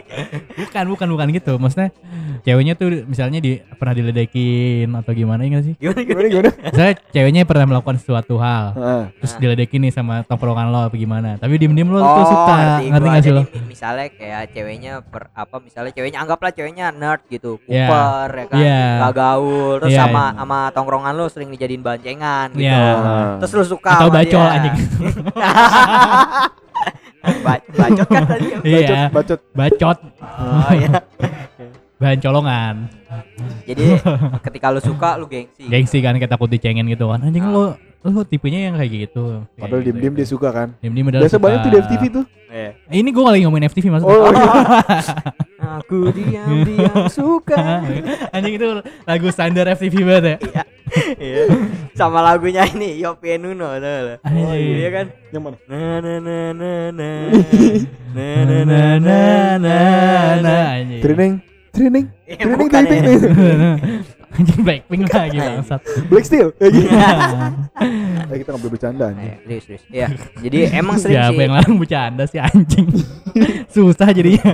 S3: Bukan bukan bukan gitu. Maksudnya ceweknya tuh misalnya di pernah diledekin atau gimana enggak sih?
S2: Gimana gitu?
S4: Gimana gimana?
S3: Misalnya ceweknya pernah melakukan suatu hal
S4: Heeh.
S3: terus
S2: Ah.
S3: diledekin nih sama tongkrongan lo apa gimana. Tapi diem-diem lo tuh Oh, suka
S2: Oh, ngerti
S3: ngerti
S2: gua.
S3: gak sih
S2: Jadi
S3: lo?
S2: mi- misalnya kayak ceweknya per, apa misalnya ceweknya anggaplah ceweknya nerd gitu,
S3: Iya.
S2: kuper ya kan,
S3: Iya.
S2: nggak gaul, terus
S3: Iya,
S2: sama
S3: iya.
S2: sama tongkrongan lu sering dijadiin bancengan gitu.
S3: Iya.
S2: Terus lu suka
S3: Atau
S2: sama
S3: bacol,
S2: dia. [laughs]
S3: anjing.
S2: Ba- bacot kan tadi.
S3: [laughs] Iya,
S4: Bacot.
S3: bacot.
S2: Oh iya.
S3: bahan colongan
S2: Jadi ketika lu suka lu gengsi.
S3: gengsi kan kita takut dicengin gitu kan anjing lo lo tipenya yang kayak gitu
S4: Padahal diem-diem dia suka kan.
S3: diem diem
S4: Biasa banyak tuh di FTV
S3: [laughs]
S4: tuh.
S2: Iya.
S3: ini gue lagi ngomongin FTV maksudnya
S4: Oh, iya.
S2: Aku diam-diam
S3: [laughs]
S2: suka.
S3: [laughs] anjing itu lagu standar FTV banget ya
S2: Iya. Sama lagunya ini Yopie Nuno tau lo.
S3: Anjing.
S2: Iya kan?
S4: yang mana?
S2: Na na na na na.
S3: [laughs]
S2: Na na na na na. na.
S3: anjing
S4: Training, training,
S2: Eh,
S4: training,
S2: bukan,
S4: training,
S2: eh.
S3: ya.
S4: training.
S3: [laughs] anjing Blackpink lagi bangsat
S4: [laughs] Black Steel. Kayak gitu.
S3: Iya.
S4: [laughs] Eh, kita nggak boleh bercanda anjing.
S2: Eh, Serius, serius. Iya.
S3: [laughs]
S2: Jadi emang sering
S3: siapa
S2: sih.
S3: Ya, yang larang bercanda sih anjing susah jadinya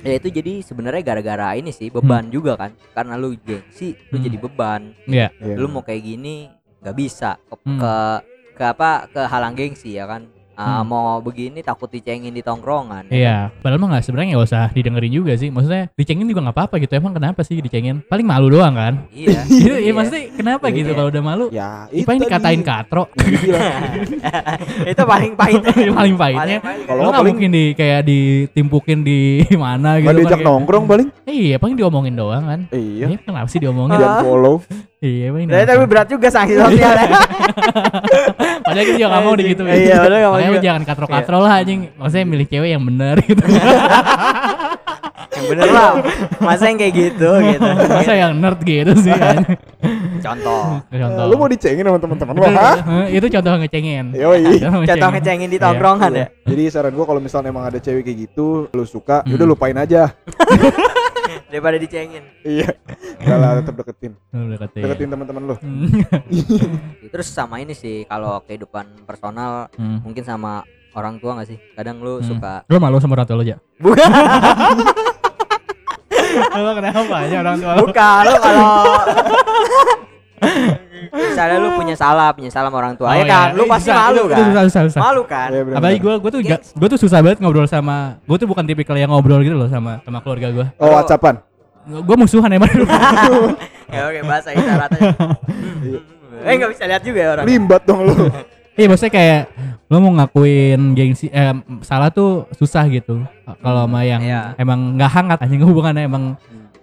S2: Ya itu jadi sebenarnya gara-gara ini sih beban juga kan. Karena lu gengsi, lu
S3: Hmm.
S2: jadi beban.
S3: ya
S4: Iya.
S2: Lu mau kayak gini nggak bisa ke,
S3: Hmm.
S2: ke ke apa ke halang gengsi ya kan. Ah,
S3: Hmm.
S2: mau begini takut dicengin di tongkrongan. ya kan?
S3: Iya, padahal mah nggak sebenarnya nggak usah didengerin juga sih. Maksudnya dicengin juga nggak apa-apa gitu. Emang kenapa sih dicengin? Paling malu doang kan?
S2: Iya.
S3: [laughs] Iya, iya maksudnya kenapa
S2: Iya.
S3: gitu kalau udah malu?
S4: Ya, itu
S3: Ipa ini
S4: tadi.
S3: dikatain katro. [laughs]
S4: Dibilang.
S2: itu paling pahit.
S3: Iya, Paling pahitnya.
S2: pahit.
S4: Kalau
S3: Kalau nggak
S4: paling-
S3: mungkin di kayak ditimpukin di [laughs] mana
S4: Nggak
S3: gitu. kan,
S4: diajak
S3: kayak-
S4: nongkrong paling.
S3: Iya, paling diomongin doang kan.
S4: Iya.
S3: Iya, kenapa sih diomongin?
S2: Iya.
S4: Jangan follow.
S3: Iya, paling.
S2: Tapi- tapi
S3: diomongin.
S2: berat juga sanksi sosial ya.
S3: [laughs] Padahal kita juga nggak mau
S2: Anjing.
S3: gitu.
S2: Iya, padahal nggak mau
S3: Makanya
S2: juga.
S3: jangan katro-katro lah anjing. Maksudnya milih cewek yang benar gitu.
S2: yang bener lah. Masa yang kayak gitu gitu.
S3: [laughs] Masa yang nerd gitu sih kan.
S2: Contoh.
S3: Contoh. Iya.
S4: Lu mau dicengin sama teman-teman
S3: [laughs]
S4: lo, ha?
S3: Itu contoh ngecengin.
S4: Yoi.
S2: Contoh ngecengin di
S3: Iya.
S2: tongkrongan ya.
S4: Jadi saran gua kalau misalnya emang ada cewek kayak gitu, lu suka,
S3: Hmm.
S4: udah lupain aja.
S2: Daripada dicengin.
S4: Iya. Enggak lah, tetap deketin.
S3: Lu deketin.
S4: Deketin teman-teman lu.
S3: Hmm.
S2: Iya, Terus sama ini sih kalau kehidupan personal
S3: Hmm.
S2: mungkin sama orang tua nggak sih? Kadang lu
S3: Hmm.
S2: suka [laughs]
S3: Lu malu sama orang tua [laughs] lu aja.
S2: bukan
S3: Lu kenapa aja orang tua lu?
S2: bukan lu kalau misalnya lu punya salah punya salah sama orang
S3: Oh,
S2: tua ya kan lu pasti malu kan
S3: iya. Susah, susah, susah.
S2: malu kan
S4: Iya, benar.
S3: Apalagi gue, gue tuh, ga-
S2: Yes.
S3: gua tuh susah banget ngobrol sama, gue tuh bukan tipikal yang ngobrol gitu loh sama sama keluarga gue.
S4: Oh, WhatsAppan.
S3: Gue musuhan [laughs] emang dulu.
S2: ya oke bahasa
S3: [laughs]
S2: isyaratnya eh nggak bisa lihat juga ya orang
S4: Limbat dong
S3: [laughs]
S4: lu.
S3: Iya maksudnya kayak lo mau ngakuin gengsi eh, salah tuh susah gitu. Kalau sama yang
S2: Iya.
S3: emang nggak hangat anjing hubungannya emang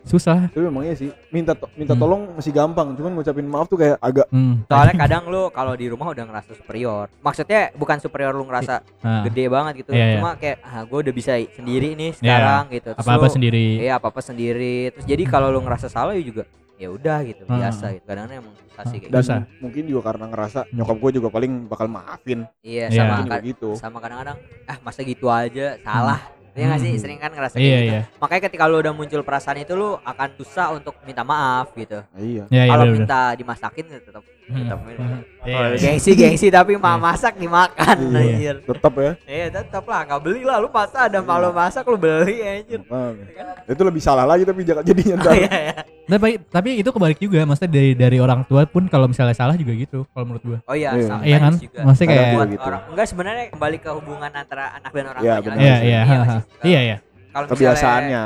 S3: susah.
S4: Tapi emang iya sih, minta to- minta
S3: Hmm.
S4: tolong masih gampang, cuman ngucapin maaf tuh kayak agak
S3: Hmm.
S2: soalnya kadang lu kalau di rumah udah ngerasa superior maksudnya bukan superior lu ngerasa
S3: Nah,
S2: gede banget gitu
S3: Iya, iya.
S2: cuma kayak ah gue udah bisa sendiri nih sekarang gitu Terus
S3: apa-apa
S2: lu-
S3: sendiri.
S2: iya apa apa sendiri terus jadi kalau lu ngerasa salah ya juga ya udah gitu
S3: Hmm.
S2: biasa gitu kadang emang susah sih kayak gitu.
S4: dan
S3: Susah.
S4: mungkin juga karena ngerasa nyokap gue juga paling bakal maafin.
S2: Iya
S3: Iya.
S2: sama
S4: Mungkin juga
S2: ka-
S4: gitu.
S2: sama kadang-kadang ah masa gitu aja salah. Iya nggak sih
S4: Hmm.
S2: sering kan ngerasa kayak
S3: Iya,
S2: gitu.
S3: iya.
S2: Makanya ketika lu udah muncul perasaan itu lu akan susah untuk minta maaf gitu.
S4: Iya.
S3: Iya, iya,
S2: Kalau
S3: bener-bener. Hmm.
S2: minta dimasakin ya tetap tetap
S3: Iya,
S2: Kalau
S3: iya.
S2: gengsi gengsi tapi mau masak dimakan
S4: Iya.
S2: anjir.
S4: Tetap ya.
S2: Iya tetap lah nggak beli lah lu masa ada malu
S4: Iya.
S2: masak lu beli anjir.
S4: Makanya. Itu lebih salah lagi tapi jangan jadinya ntar.
S2: [laughs] Iya iya.
S3: Tapi, tapi itu kebalik juga, maksudnya dari dari orang tua pun kalau misalnya salah juga gitu, kalau menurut gua.
S2: Oh iya,
S4: Iya.
S2: sometimes
S3: Iya kan?
S2: juga.
S3: Maksudnya
S4: Kadang
S3: kayak
S4: gua-
S2: Buat
S4: Gitu.
S2: orang enggak sebenarnya kembali ke hubungan antara anak dan orang
S4: Iya,
S2: tuanya
S4: benar.
S2: lagi
S3: Iya,
S2: sih.
S3: iya,
S2: nggak
S3: ha,
S2: sih?
S3: ha. iya, iya,
S2: Kalau misalnya-
S4: Kebiasaannya.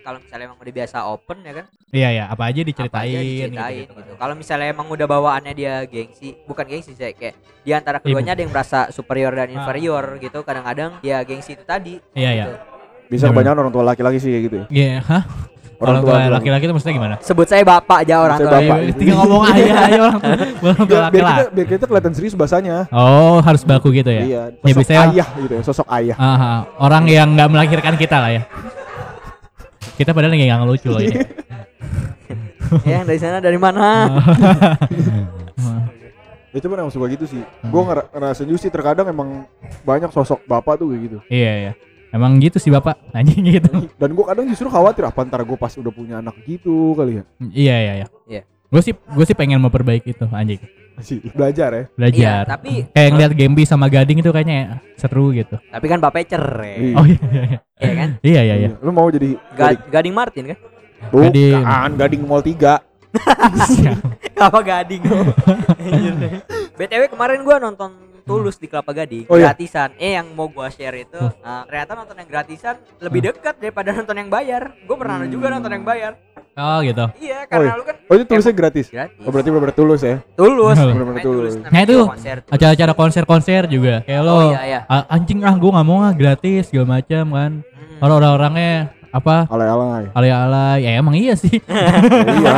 S2: Kalau misalnya emang udah biasa open ya kan
S3: iya, iya, apa aja
S2: apa
S3: diceritain,
S2: aja diceritain gitu. Kalau misalnya emang udah bawaannya dia gengsi, bukan gengsi sih kayak di antara keduanya ada yang merasa superior dan inferior gitu. Kadang-kadang ya gengsi itu tadi.
S3: Ah. Iya, iya.
S2: gitu.
S4: Bisa kebanyakan orang tua laki-laki sih kayak gitu ya.
S3: Iya, hah?
S4: Orang tua
S3: Orang tua
S4: laki-laki.
S3: laki-laki itu maksudnya gimana?
S2: Sebut saya bapak aja orang
S4: Saya
S2: tua.
S4: bapak.
S3: Eh, Tinggal ngomong aja, aja
S4: [laughs]
S3: orang tua, orang
S4: Biar,
S3: tua
S4: biar kita,
S3: laki-laki.
S4: biar kita kelihatan serius bahasanya.
S3: Oh, harus baku gitu ya?
S4: Iya.
S3: Ya
S4: Sosok
S3: biasanya
S4: ayah gitu ya, sosok ayah.
S3: Aha, orang yang nggak melahirkan kita lah ya. Kita padahal nggak nggak lucu loh
S4: Iya.
S3: ini.
S2: [laughs] Ya, yang dari sana dari mana?
S3: Ah.
S4: Ya cuman emang suka gitu sih.
S3: Hmm.
S4: Gue ngerasain juga sih terkadang emang banyak sosok bapak tuh kayak gitu.
S3: iya iya. Emang gitu sih bapak, anjing
S2: [laughs]
S3: gitu.
S4: Dan gue kadang justru khawatir apa ntar gue pas udah punya anak gitu kali ya.
S3: iya iya iya.
S2: Iya.
S3: Gue sih gue sih pengen memperbaiki itu anjing.
S4: Masih belajar ya.
S3: Belajar.
S2: Iya, tapi-
S3: kayak ngeliat Gembi sama Gading itu kayaknya seru gitu.
S2: Tapi kan bapaknya cerai.
S4: Iya.
S3: Oh iya iya. iya.
S2: Iya kan?
S3: Iya iya
S2: [laughs]
S3: iya.
S4: Lu mau jadi
S2: Ga- Gading Martin kan?
S4: Bukan,
S3: Gading.
S4: Gading Mall 3
S2: Oh, iya, Kelapa Gading. [laughs] Anjir. BTW kemarin gua nonton Tulus di Kelapa Gading
S4: Oh, iya. Hmm.
S2: gratisan. Eh yang mau gua share itu eh, ternyata nonton yang gratisan lebih dekat daripada nonton yang bayar. Gua pernah juga nonton yang bayar.
S3: Oh gitu.
S2: Iya, karena
S4: iya.
S2: lu kan
S4: Hmm. Oh itu tulisnya gratis?
S2: gratis.
S4: Oh berarti benar-benar tulus ya?
S3: Hmm.
S2: Tulus.
S4: Bener-bener
S2: Main tulus.
S4: tulus.
S3: Nah, itu
S2: konser tulus.
S3: Acara-acara konser-konser juga. Kayak lo
S2: Oh, iya, iya.
S3: "Ah, anjing ah gue nggak mau ah gratis segala macam kan.
S2: Hmm.
S3: Orang-orangnya apa [laughs]
S4: alay-alay.
S3: ala-ala ya emang iya
S2: [laughs]
S3: sih [laughs]
S4: Ya,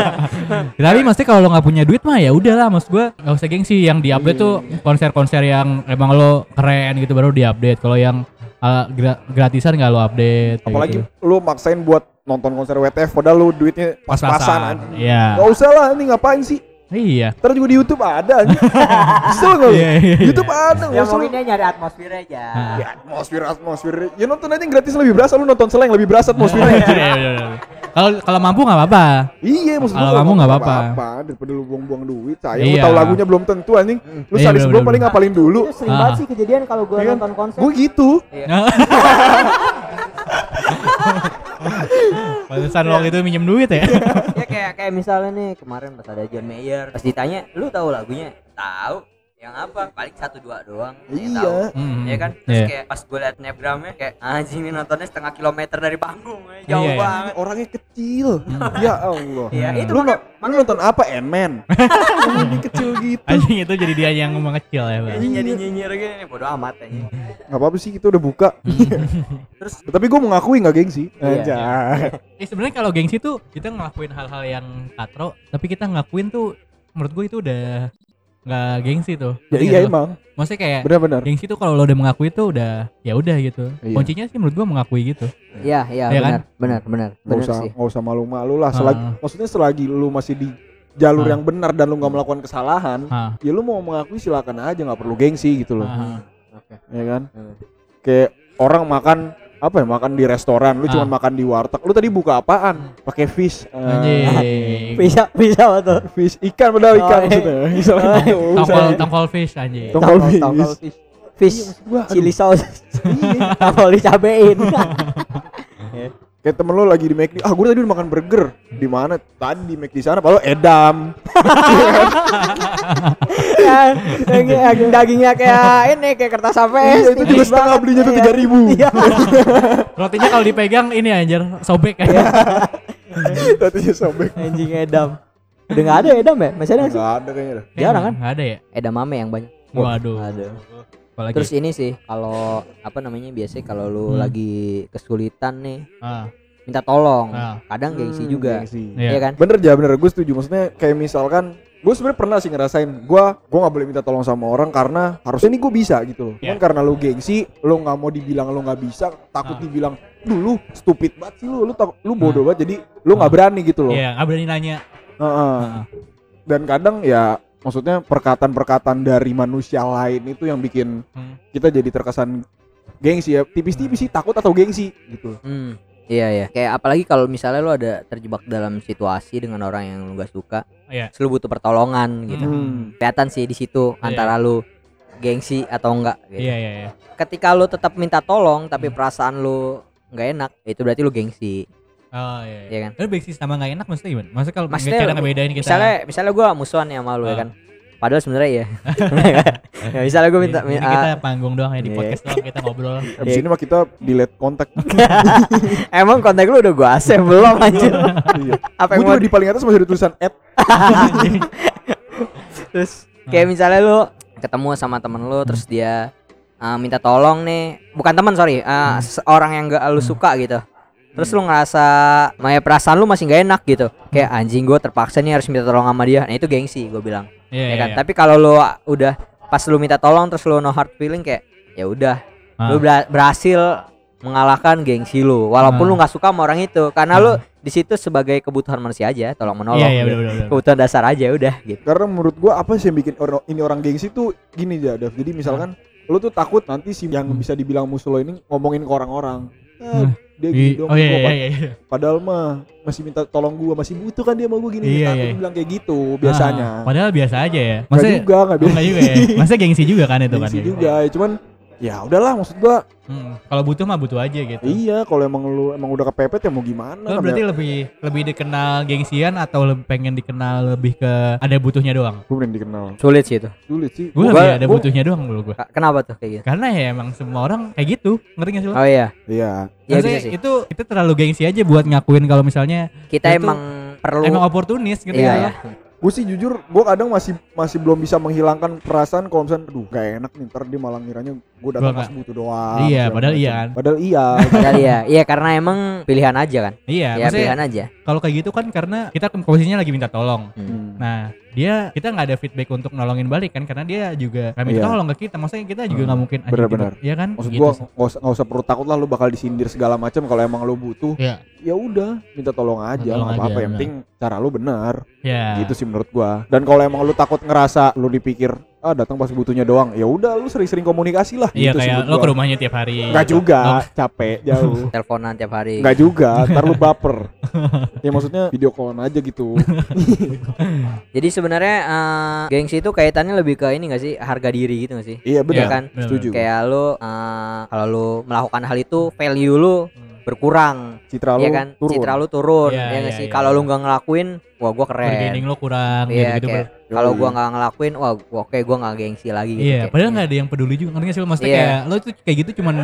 S4: iya.
S3: tapi maksudnya kalau lo nggak punya duit mah ya udahlah maksud gua nggak usah gengsi yang diupdate tuh
S2: Hmm.
S3: konser-konser yang emang lo keren gitu baru diupdate kalau yang uh, gra- gratisan nggak lo update kayak
S4: Apalagi
S3: gitu.
S4: lu maksain buat nonton konser WTF padahal lu duitnya pas-pasan. Oh.
S3: pas-pasan
S4: anjing.
S3: iya
S4: Gak usah lah, ini ngapain sih?
S3: iya
S4: Ntar juga di YouTube ada
S3: [laughs]
S4: anjing. Kesel gak lu?
S3: Iya, iya, iya.
S4: YouTube ada,
S2: Ya
S4: gak usah lu.
S2: mungkin dia nyari atmosfer aja.
S3: Nah.
S4: Ya atmosfer, atmosfer. Ya nonton aja yang gratis lebih berasa, lu nonton selain lebih berasa
S3: [laughs]
S4: atmosfernya.
S3: Iya, iya, iya. kalau kalau mampu nggak apa-apa
S4: Iya maksud
S3: Kalau
S4: gua
S3: kamu nggak apa-apa.
S4: Daripada lu buang-buang duit Sayang lu
S3: Iya.
S4: tau lagunya belum tentu anjing Lu
S3: Iya,
S4: sehari
S3: bener,
S4: sebelum
S3: bener,
S4: paling
S3: bener.
S4: ngapalin dulu
S2: Iya,
S5: Itu sering
S3: Ah.
S5: banget sih kejadian kalau gue
S4: Iya kan?
S5: nonton konser.
S4: Gue gitu
S3: Pantesan lo itu minjem duit [laughs] ya
S2: ya kayak kayak misalnya nih kemarin pas ada John Mayer pas ditanya lu tahu lagunya tahu yang apa paling satu dua doang yang
S4: Iya.
S2: tahu
S3: Hmm.
S2: ya kan terus
S3: Iya.
S2: kayak pas gue liat snapgramnya kayak anjing ini nontonnya setengah kilometer dari panggung eh, jauh
S3: Iya, iya.
S2: banget
S4: Orangnya kecil
S3: Hmm.
S4: Ya Allah
S2: Iya, itu
S4: Lu,
S2: makanya-
S4: no- lu nonton apa?
S3: [laughs]
S4: Ant-Man Ini kecil gitu
S3: anjing itu jadi dia yang ngomong kecil ya bang
S2: Anjing jadi nyinyir gini nih bodo amat anjing
S4: Gak apa-apa sih kita udah buka
S3: Hmm.
S2: [laughs] Terus-
S4: Tapi gue mengakui gak gengsi
S2: Iya.
S4: Anjay
S3: Eh sebenarnya kalau gengsi tuh kita ngelakuin hal-hal yang katro, tapi kita ngakuin tuh menurut gue itu udah nggak gengsi tuh.
S4: Ya
S3: Ngerti
S4: iya
S3: nggak lu?
S4: emang
S3: Maksudnya kayak
S4: Benar-benar
S3: gengsi tuh kalau lo udah mengakui tuh udah ya udah gitu.
S4: Iya.
S3: Kuncinya sih menurut gue mengakui gitu.
S2: iya iya
S3: Iya kan?
S2: benar benar benar
S4: Gak
S2: benar
S4: usah,
S2: sih
S4: gak usah malu-malu lah selagi,
S3: Ah.
S4: Maksudnya selagi lu masih di jalur
S3: Ah.
S4: yang benar dan lu gak melakukan kesalahan
S3: Ah.
S4: Ya lu mau mengakui silakan aja gak perlu gengsi gitu loh
S3: Ah.
S4: ya kan? Kayak orang makan apa ya makan di restoran, lu cuma
S3: Ah.
S4: makan di warteg. Lu tadi buka apaan? Pakai fish. Eh,
S3: Anjing.
S5: Bisa bisa tuh.
S4: Fish ikan padahal ikan
S5: Oh,
S4: maksudnya. [laughs] Misalnya
S5: Oh,
S4: gitu,
S3: Tongkol
S4: misalnya.
S3: tongkol fish anjing.
S4: Tongkol fish.
S5: fish. Fish.
S4: Wah, aduh,
S5: Chili sauce.
S4: iya.
S5: Tongkol dicabein.
S4: Kayak temen lu lagi di McD, ah gue tadi udah makan burger. Di mana? Tadi di McD sana, padahal edam.
S5: Kan, yang dagingnya kayak ini kayak gitu. kertas
S2: Eh,
S4: Iya,
S5: HP.
S4: itu juga setengah belinya tuh 3000.
S5: Iya.
S3: Rotinya kalau dipegang ini anjir sobek
S4: Iya,
S3: kayak.
S4: Tadinya sobek.
S5: Anjing edam. Udah enggak ada edam ya? Masih ada nggak sih?
S4: Enggak ada kayaknya. dah.
S5: Jarang kan?
S3: Nggak ada ya.
S2: edam mame yang banyak
S3: Waduh.
S5: Ada.
S3: Apalagi.
S2: terus ini sih kalau apa namanya biasanya kalau lu
S3: Hmm.
S2: lagi kesulitan nih
S3: ah,
S2: minta tolong
S3: Ah.
S2: kadang gengsi
S4: Hmm,
S2: juga
S4: gengsi.
S3: iya.
S2: Iya kan
S4: Bener ya, bener. Gue setuju. Maksudnya kayak misalkan gue sebenarnya pernah sih ngerasain gue gue nggak boleh minta tolong sama orang karena harusnya ini gue bisa gitu loh
S3: Iya.
S4: Cuman karena lu gengsi lu nggak mau dibilang lu nggak bisa takut
S3: Ah.
S4: dibilang dulu stupid banget sih lu lu takut lu bodoh banget jadi lu nggak berani gitu loh
S3: Iya, nggak berani nanya.
S4: Heeh.
S3: Ah.
S4: dan kadang ya maksudnya perkataan-perkataan dari manusia lain itu yang bikin
S3: Hmm.
S4: kita jadi terkesan gengsi ya tipis-tipis sih takut atau gengsi gitu
S2: Hmm, iya ya. Kayak apalagi kalau misalnya lu ada terjebak dalam situasi dengan orang yang lu gak suka,
S3: Iya.
S2: terus lu butuh pertolongan gitu.
S4: Hmm.
S2: Kelihatan sih di situ
S3: Iya.
S2: antara lu gengsi atau enggak. Gitu.
S3: Iya, iya, iya.
S2: Ketika lu tetap minta tolong tapi perasaan lu nggak enak, ya itu berarti lu gengsi.
S3: Oh iya.
S2: Iya kan?
S3: Tapi basis sama nggak enak maksudnya gimana? Maksudnya kalau
S2: Maksudnya
S3: cara ngebedain kita.
S2: Misalnya, misalnya gua musuhan ya sama lu ya
S3: Ah.
S2: kan. Padahal sebenarnya ya. ya misalnya gua minta,
S3: Jadi
S2: minta
S3: kita panggung doang ya di
S2: Iya.
S3: podcast doang kita ngobrol. Iya,
S4: abis ini mah kita delete
S3: [laughs]
S4: kontak
S2: emang kontak lu udah gua asem belum anjir.
S4: iya.
S2: Apa
S4: gue
S2: yang mau
S4: juga di paling atas masih ada tulisan app
S2: terus kayak misalnya lu ketemu sama temen lu terus dia uh, minta tolong nih bukan teman sorry uh, seorang yang gak lu suka gitu terus lu ngerasa maya perasaan lu masih nggak enak gitu kayak anjing gue terpaksa nih harus minta tolong sama dia nah itu gengsi gue bilang ya
S3: Iya,
S2: kan
S3: iya.
S2: tapi kalau lu udah pas lu minta tolong terus lu no hard feeling kayak ya udah
S3: Ah.
S2: lu bela- berhasil mengalahkan gengsi lu walaupun
S3: Ah.
S2: lu nggak suka sama orang itu karena lu di situ sebagai kebutuhan manusia aja tolong menolong
S3: Iya, iya,
S2: gitu.
S3: bener, bener, bener.
S2: kebutuhan dasar aja udah gitu
S4: Karena menurut gua apa sih yang bikin orang ini orang gengsi tuh gini aja, Dav. Jadi misalkan lu tuh takut nanti si yang
S3: Hmm.
S4: bisa dibilang musuh lo ini ngomongin ke orang-orang. Eh,
S3: Hmm.
S4: dia
S3: Di-
S4: gini dong,
S3: oh iya
S4: gua
S3: iya
S4: pad-
S3: iya. iya.
S4: padahal mah masih minta tolong gua, masih butuh kan dia sama gua gini.
S3: Iya,
S4: Takut
S3: iya.
S4: bilang kayak gitu biasanya.
S3: Ah, padahal biasa aja ya.
S4: Nggak
S3: Maksudnya
S4: juga, nggak biasa.
S3: enggak juga ya. Maksudnya gengsi juga kan itu kan.
S4: Gengsi
S3: kayak gitu.
S4: juga, ya. cuman ya udahlah maksud gua.
S3: Hmm, Kalau butuh mah butuh aja gitu.
S4: Iya, kalau emang lu emang udah kepepet ya mau gimana? namanya-
S3: Lo Nah, berarti lebih lebih dikenal gengsian atau lebih pengen dikenal lebih ke ada butuhnya doang?
S4: gua belum dikenal.
S2: sulit sih itu
S4: Sulit sih.
S3: Gue
S2: Gua-
S3: lebih ada
S2: gua-
S3: butuhnya doang dulu gue.
S2: Ka- Kenapa tuh kayak gitu?
S3: Karena ya emang semua orang kayak gitu, ngerti gak sih lo?
S2: Oh iya,
S4: Iya.
S2: iya
S3: Maksudnya
S2: bisa sih.
S3: itu itu terlalu gengsi aja buat ngakuin kalau misalnya
S2: Kita
S3: itu
S2: emang perlu [laughs]
S3: emang oportunis gitu
S2: Iya,
S3: ya.
S2: iya.
S3: lo.
S4: gue sih jujur gue kadang masih masih belum bisa menghilangkan perasaan kalau misalnya aduh gak enak nih ntar dia malah ngiranya gue datang
S3: Gua
S4: pas
S3: nggak-
S4: butuh doang
S3: Iya,
S4: segala
S3: padahal
S4: macam.
S3: iya kan.
S4: padahal
S3: [laughs]
S4: iya
S2: Padahal ya, iya karena emang pilihan aja kan.
S3: Iya,
S2: Ya,
S3: maksudnya
S2: pilihan aja.
S3: kalau kayak gitu kan karena kita posisinya lagi minta tolong.
S2: Hmm.
S3: Nah, dia kita nggak ada feedback untuk nolongin balik kan karena dia juga kami
S4: Iya.
S3: tolong ke kita. Maksudnya kita juga
S4: Hmm.
S3: nggak mungkin anjing
S4: Benar-benar.
S3: gitu. Iya kan?
S4: maksud
S3: Gitu
S4: gue
S3: sih.
S4: nggak usah nggak usah perlu takut lah lu bakal disindir segala macam kalau emang lu butuh
S3: Iya.
S4: ya udah minta tolong aja
S3: tolong
S4: nggak apa-apa
S3: aja,
S4: yang
S3: benar.
S4: penting cara lu benar
S3: Iya.
S4: gitu sih menurut gua dan kalau emang lu takut ngerasa lu dipikir ah datang pas butuhnya doang ya udah lu sering-sering komunikasi lah
S3: Iya
S4: gitu sih
S3: kayak
S4: menurut
S3: lo
S4: gua.
S3: ke rumahnya tiap hari.
S4: Nggak
S3: gitu.
S4: juga
S3: Oh,
S4: capek jauh
S2: Teleponan tiap hari.
S4: Nggak juga ntar lu baper ya maksudnya video callan aja gitu
S2: Jadi sebenarnya eh, gengsi itu kaitannya lebih ke ini gak sih harga diri gitu gak sih?
S4: iya
S2: Iya
S4: benar
S2: kan?
S3: benar.
S4: setuju
S2: Kayak lu eh, kalau lu melakukan hal itu value lu
S3: Hmm.
S2: berkurang,
S4: citra lu
S2: ya kan?
S4: turun
S2: Citra lu turun,
S3: Iya,
S2: ya nggak
S3: iya,
S2: sih?
S3: iya.
S2: Kalau lu nggak ngelakuin, wah gua keren.
S3: Bargaining lo kurang
S2: Iya,
S3: gitu-gitu.
S2: kayak
S3: Bro.
S2: kalau
S4: Yoi.
S2: gua nggak ngelakuin, wah gua, oke gua nggak gengsi lagi. gitu,
S3: Iya,
S2: kayak-
S3: padahal nggak ada yang peduli juga. Ngerti nggak sih lo? Maksudnya
S2: Iya.
S3: kayak lo tuh kayak gitu cuman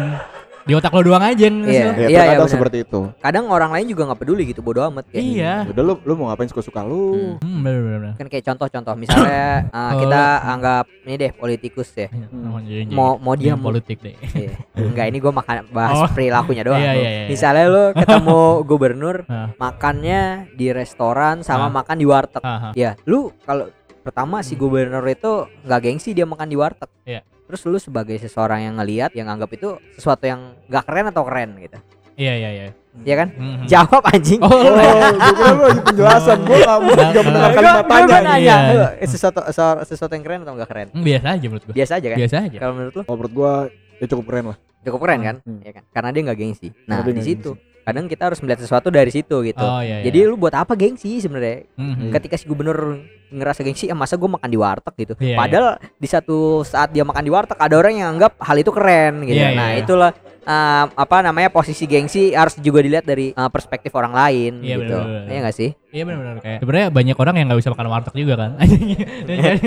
S3: di otak lo doang aja ngerti nggak sih
S2: Iya.
S3: lo?
S4: ya
S2: Iya, iya,
S4: terkadang
S2: benar.
S4: seperti itu
S2: Kadang orang lain juga nggak peduli gitu, bodo amat kayak.
S3: Iya.
S4: udah lu lu mau ngapain suka-suka lu
S2: Hmm.
S3: Hmm, bener bener. bener.
S2: Kan kayak contoh-contoh misalnya
S3: [coughs]
S2: eh, kita anggap ini deh politikus ya.
S3: Iya, iya, iya.
S2: Mau mau dia
S3: Iya, politik deh. [laughs]
S2: Iya. Enggak ini gue makan bahas
S3: Oh.
S2: perilakunya doang.
S3: Iya,
S2: bro.
S3: iya, iya.
S2: Misalnya lo
S3: [laughs]
S2: ketemu gubernur
S3: Ah.
S2: makannya di restoran sama
S3: Ah.
S2: makan di warteg.
S3: Haha.
S2: Ya, lu kalau pertama si gubernur itu nggak gengsi dia makan di warteg.
S3: Hmm. Iya.
S2: Terus lu sebagai seseorang yang ngelihat yang anggap itu sesuatu yang nggak keren atau keren gitu.
S3: Iya iya iya.
S2: Iya kan?
S3: Mhm.
S2: Jawab anjing.
S3: Oh,
S4: Oh, gue kira lu lagi penjelasan gue gak mau
S3: Nggak,
S4: gak mendengar
S3: nggak.
S4: kalimat
S2: Gua- gua
S4: tanya
S3: nanya.
S2: nanya,
S3: Iya.
S2: lu, eh, sesuatu sesuatu- sesuatu yang keren atau nggak keren?
S3: Hmm, biasa aja menurut gua.
S2: Biasa aja kan?
S3: Biasa aja.
S2: Kalau menurut lu
S4: Kalau menurut gua ya cukup keren lah
S2: cukup keren kan?
S4: Hmm.
S2: Iya kan? Karena dia nggak gengsi. Nah,
S4: dia
S2: di
S4: nggak
S2: situ kadang kita harus melihat sesuatu dari situ gitu.
S3: Oh iya. iya.
S2: Jadi lu buat apa gengsi sebenarnya?
S4: Iya.
S3: Mhm.
S2: Ketika si gubernur ngerasa gengsi, "Ah, masa gue makan di warteg gitu.
S3: Iya,
S2: Padahal di satu saat dia makan di warteg ada orang yang anggap hal itu keren gitu.
S3: Iya,
S2: nah,
S3: iya.
S2: itulah um, apa namanya posisi gengsi harus juga dilihat dari uh, perspektif orang lain
S3: Iya,
S2: gitu.
S3: bener-bener.
S2: Iya gak sih?
S3: Iya benar-benar kayak sebenarnya banyak orang yang nggak bisa makan warteg juga kan. [laughs] jadi jadi
S2: [laughs]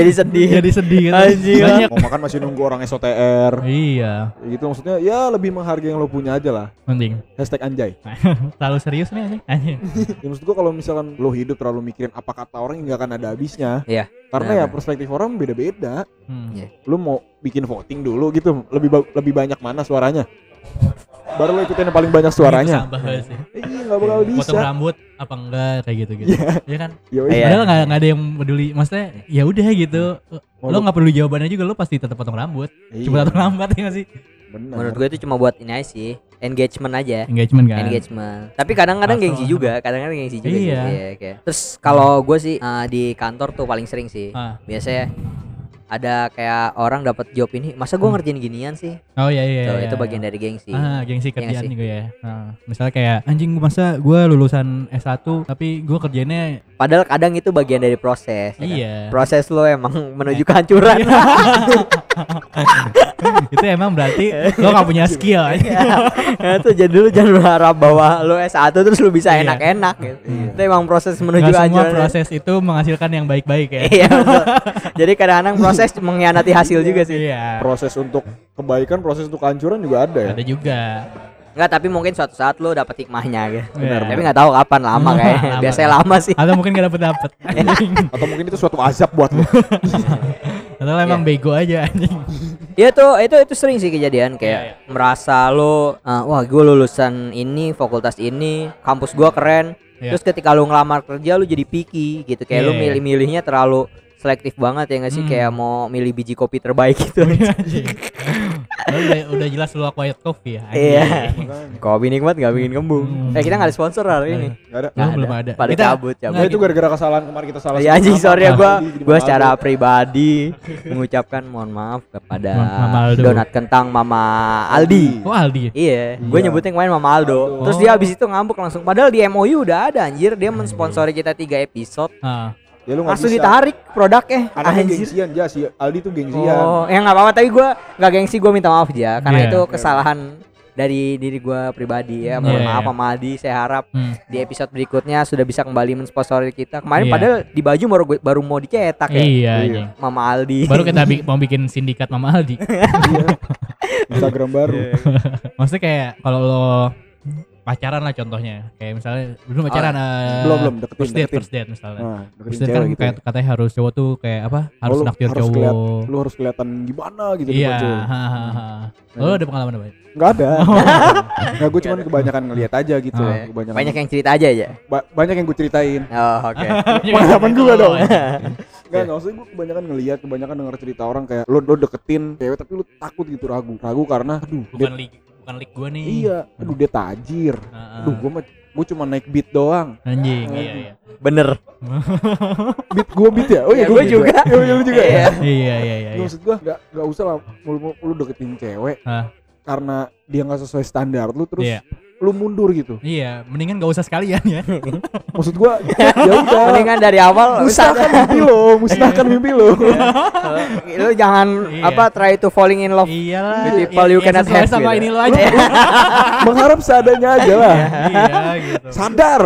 S2: Jadi sedih.
S3: [laughs] jadi sedih gitu.
S2: Anjing.
S3: Banyak.
S4: mau makan masih nunggu orang SOTR
S3: Iya,
S4: Ya gitu maksudnya ya lebih menghargai yang lo punya aja lah
S3: penting.
S4: hashtag anjay
S3: Terlalu serius nih anjing. Anjing.
S4: ya maksud gua kalau misalkan lo hidup terlalu mikirin apa kata orang ya nggak akan ada habisnya
S2: Iya,
S4: karena ya
S2: benar.
S4: perspektif orang beda-beda
S3: Hmm.
S2: Iya.
S4: lu mau bikin voting dulu gitu lebih ba- lebih banyak mana suaranya baru lo ikutin yang paling banyak suaranya
S3: Itu sampah banget sih.
S4: Eh, iya nggak bakal bisa
S3: Potong rambut apa enggak kayak gitu-gitu. Iya kan?
S4: Yo,
S2: Iya.
S3: Padahal nggak nggak ada yang peduli. Maksudnya ya udah gitu.
S2: Iya.
S4: Mau
S3: Lo
S4: lu-
S3: nggak perlu jawabannya juga lo pasti tetap potong rambut.
S4: iya,
S3: Cuma potong rambut ya nggak sih?
S4: benar
S2: Menurut gue itu cuma buat ini aja sih, engagement aja.
S3: Engagement kan.
S2: engagement. Tapi kadang-kadang
S3: Langsung
S2: gengsi
S3: langsung.
S2: juga, kadang-kadang gengsi juga.
S3: Iya.
S2: gitu. kayak. Terus kalau gue sih uh, di kantor tuh paling sering sih.
S3: Ah.
S2: Biasanya ada kayak orang dapat job ini, masa
S3: Hmm.
S2: gue ngerjain ginian sih?
S3: Oh iya iya.
S2: Tuh,
S3: iya,
S2: itu
S3: iya.
S2: bagian dari gengsi.
S3: Ah,
S2: Iya
S3: gengsi
S2: nggak
S3: kerjaan
S2: sih?
S3: juga ya. Nah, misalnya kayak anjing masa gue lulusan S1 tapi gue kerjanya
S2: Padahal kadang itu bagian dari proses. ya kan?
S3: iya.
S2: Proses lo emang
S3: [laughs]
S2: menuju kehancuran. [laughs]
S3: kan [laughs] itu emang berarti lo gak
S2: [laughs]
S3: punya skill
S2: Nah, itu jadi lu jangan berharap bahwa lo S1 terus lu bisa
S3: Iya.
S2: enak-enak gitu. Itu emang proses menuju
S3: Gak semua
S2: kehancuran.
S3: proses itu menghasilkan yang baik-baik ya
S2: [laughs] Iya.
S3: [laughs]
S2: betul. jadi kadang-kadang proses mengkhianati hasil juga sih.
S3: iya
S4: proses untuk kebaikan proses untuk kehancuran juga ada ya
S3: ada juga
S2: Enggak, tapi mungkin suatu saat lo dapet hikmahnya gitu.
S3: Benar,
S2: Tapi
S3: benar.
S2: nggak tahu kapan lama
S3: Iya. [laughs] Lama,
S2: kayaknya.
S3: lama.
S2: Biasanya lama sih.
S3: atau mungkin gak dapet dapet
S2: [laughs] Iya.
S4: atau mungkin itu suatu azab buat lo
S3: atau emang bego aja anjing
S2: Iya tuh, itu itu sering sih kejadian kayak
S3: Iya,
S2: merasa lo ah, wah gue lulusan ini, fakultas ini, kampus gua keren.
S3: Iya.
S2: Terus ketika lo ngelamar kerja lo jadi picky gitu kayak
S3: Iya,
S2: lo
S3: iya.
S2: milih-milihnya terlalu selektif banget ya nggak sih
S3: Hmm. Iya,
S2: kayak mau milih biji kopi terbaik
S3: [laughs]
S2: gitu.
S3: Anjing. Lo udah, udah jelas lu quiet coffee ya anjing.
S2: [laughs] Iya. Kopi nikmat gak bikin kembung.
S3: Hmm.
S2: Eh
S3: Iya.
S2: kita nggak ada sponsor hari ini.
S4: nggak ada
S3: Lo
S2: Nggak
S3: belum ada.
S2: Pada
S3: Kita-
S2: cabut, cabut.
S4: Nah, itu gara-gara kesalahan kemarin kita salah.
S2: Ya anjing
S4: sebut
S2: sorry ya
S4: nama.
S2: gua
S3: Iya,
S4: Jadi
S2: gua
S4: malu.
S2: secara pribadi mengucapkan mohon maaf kepada
S3: Ma- Mama Aldo.
S2: donat kentang Mama Aldi.
S3: oh Aldi
S2: Iya, gue
S4: Iya.
S2: nyebutnya kemarin Mama Aldo.
S4: Aldo.
S2: Terus dia habis itu ngambek langsung. Padahal di MOU udah ada anjir, dia mensponsori kita tiga episode.
S3: Ah.
S4: Ya lu nggak
S2: Langsung
S4: bisa.
S2: ditarik produknya
S4: Anaknya
S2: anjir.
S4: gengsian ya si Aldi tuh gengsian.
S2: Oh, ya nggak apa-apa tapi gua nggak gengsi gue minta maaf aja karena
S3: Iya.
S2: itu kesalahan dari diri gua pribadi ya. Mohon
S3: Iya,
S2: maaf
S3: iya.
S2: Mama Aldi, saya harap
S3: Hmm.
S2: di episode berikutnya sudah bisa kembali mensponsori kita. Kemarin
S3: Iya.
S2: padahal di baju baru baru mau dicetak ya.
S3: iya anjing
S2: Mama Aldi.
S3: baru kita bi- mau bikin sindikat Mama Aldi
S4: Instagram baru.
S3: maksudnya kayak kalau lo pacaran lah contohnya kayak misalnya belum pacaran eh,
S4: Ah, Belum, belum, deketin,
S3: first date
S4: deketin.
S3: first date misalnya
S4: Nah, deketin
S3: first date kan
S4: cewek gitu.
S3: kayak katanya harus cowok tuh kayak apa harus
S4: lu
S3: naktir
S4: harus keliat-
S3: cowok
S4: ya. Lu harus kelihatan gimana gitu di
S3: iya
S4: cewek.
S3: hahaha.
S4: Nah,
S3: lo ada pengalaman apa
S4: Enggak
S3: [laughs]
S4: ada. Enggak gue cuman kebanyakan ngelihat aja gitu.
S3: Oh,
S2: iya.
S4: Kebanyakan
S2: [laughs] Banyak yang cerita aja ya.
S4: ba- banyak yang gue ceritain.
S2: Oh,
S3: [laughs]
S2: oke.
S4: [laughs] Pengalaman gue dong.
S3: Iya.
S4: Enggak, enggak usah gue kebanyakan ngelihat, kebanyakan denger cerita orang kayak lu lu deketin cewek tapi lu takut gitu ragu. Ragu karena aduh, dia,
S3: bukan lik bukan lik gue nih
S4: iya, aduh dia tajir.
S3: Heeh.
S4: Aduh, gue mah gue cuma naik beat doang.
S3: anjing iya
S4: [laughs]
S3: iya
S2: Bener.
S4: Beat gue beat ya? Oh
S2: Ya,
S4: iya,
S2: gua
S4: gue
S2: juga.
S4: Iya, iya, lu juga ya.
S2: Iya.
S3: iya iya iya
S4: Nggak,
S3: iya
S4: Maksud gue enggak enggak usah lah lu, lu- lu deketin cewek
S3: Hah.
S4: karena dia nggak sesuai standar lu terus
S3: Iya.
S4: lu mundur
S3: [laughs]
S4: gitu.
S3: Iya, mendingan gak usah sekalian ya.
S4: Maksud gua ya udah.
S2: Mendingan dari awal
S4: Musnahkan mimpi lo, musnahkan mimpi lo.
S2: lu jangan
S3: Iya.
S2: apa try to falling in love With
S3: Iyalah. ya-
S2: people you
S3: ya
S2: cannot
S3: sesuai
S2: have
S3: sama
S2: gitu.
S3: ini lo aja.
S4: Mengharap seadanya aja lah.
S3: iya gitu.
S4: Sadar.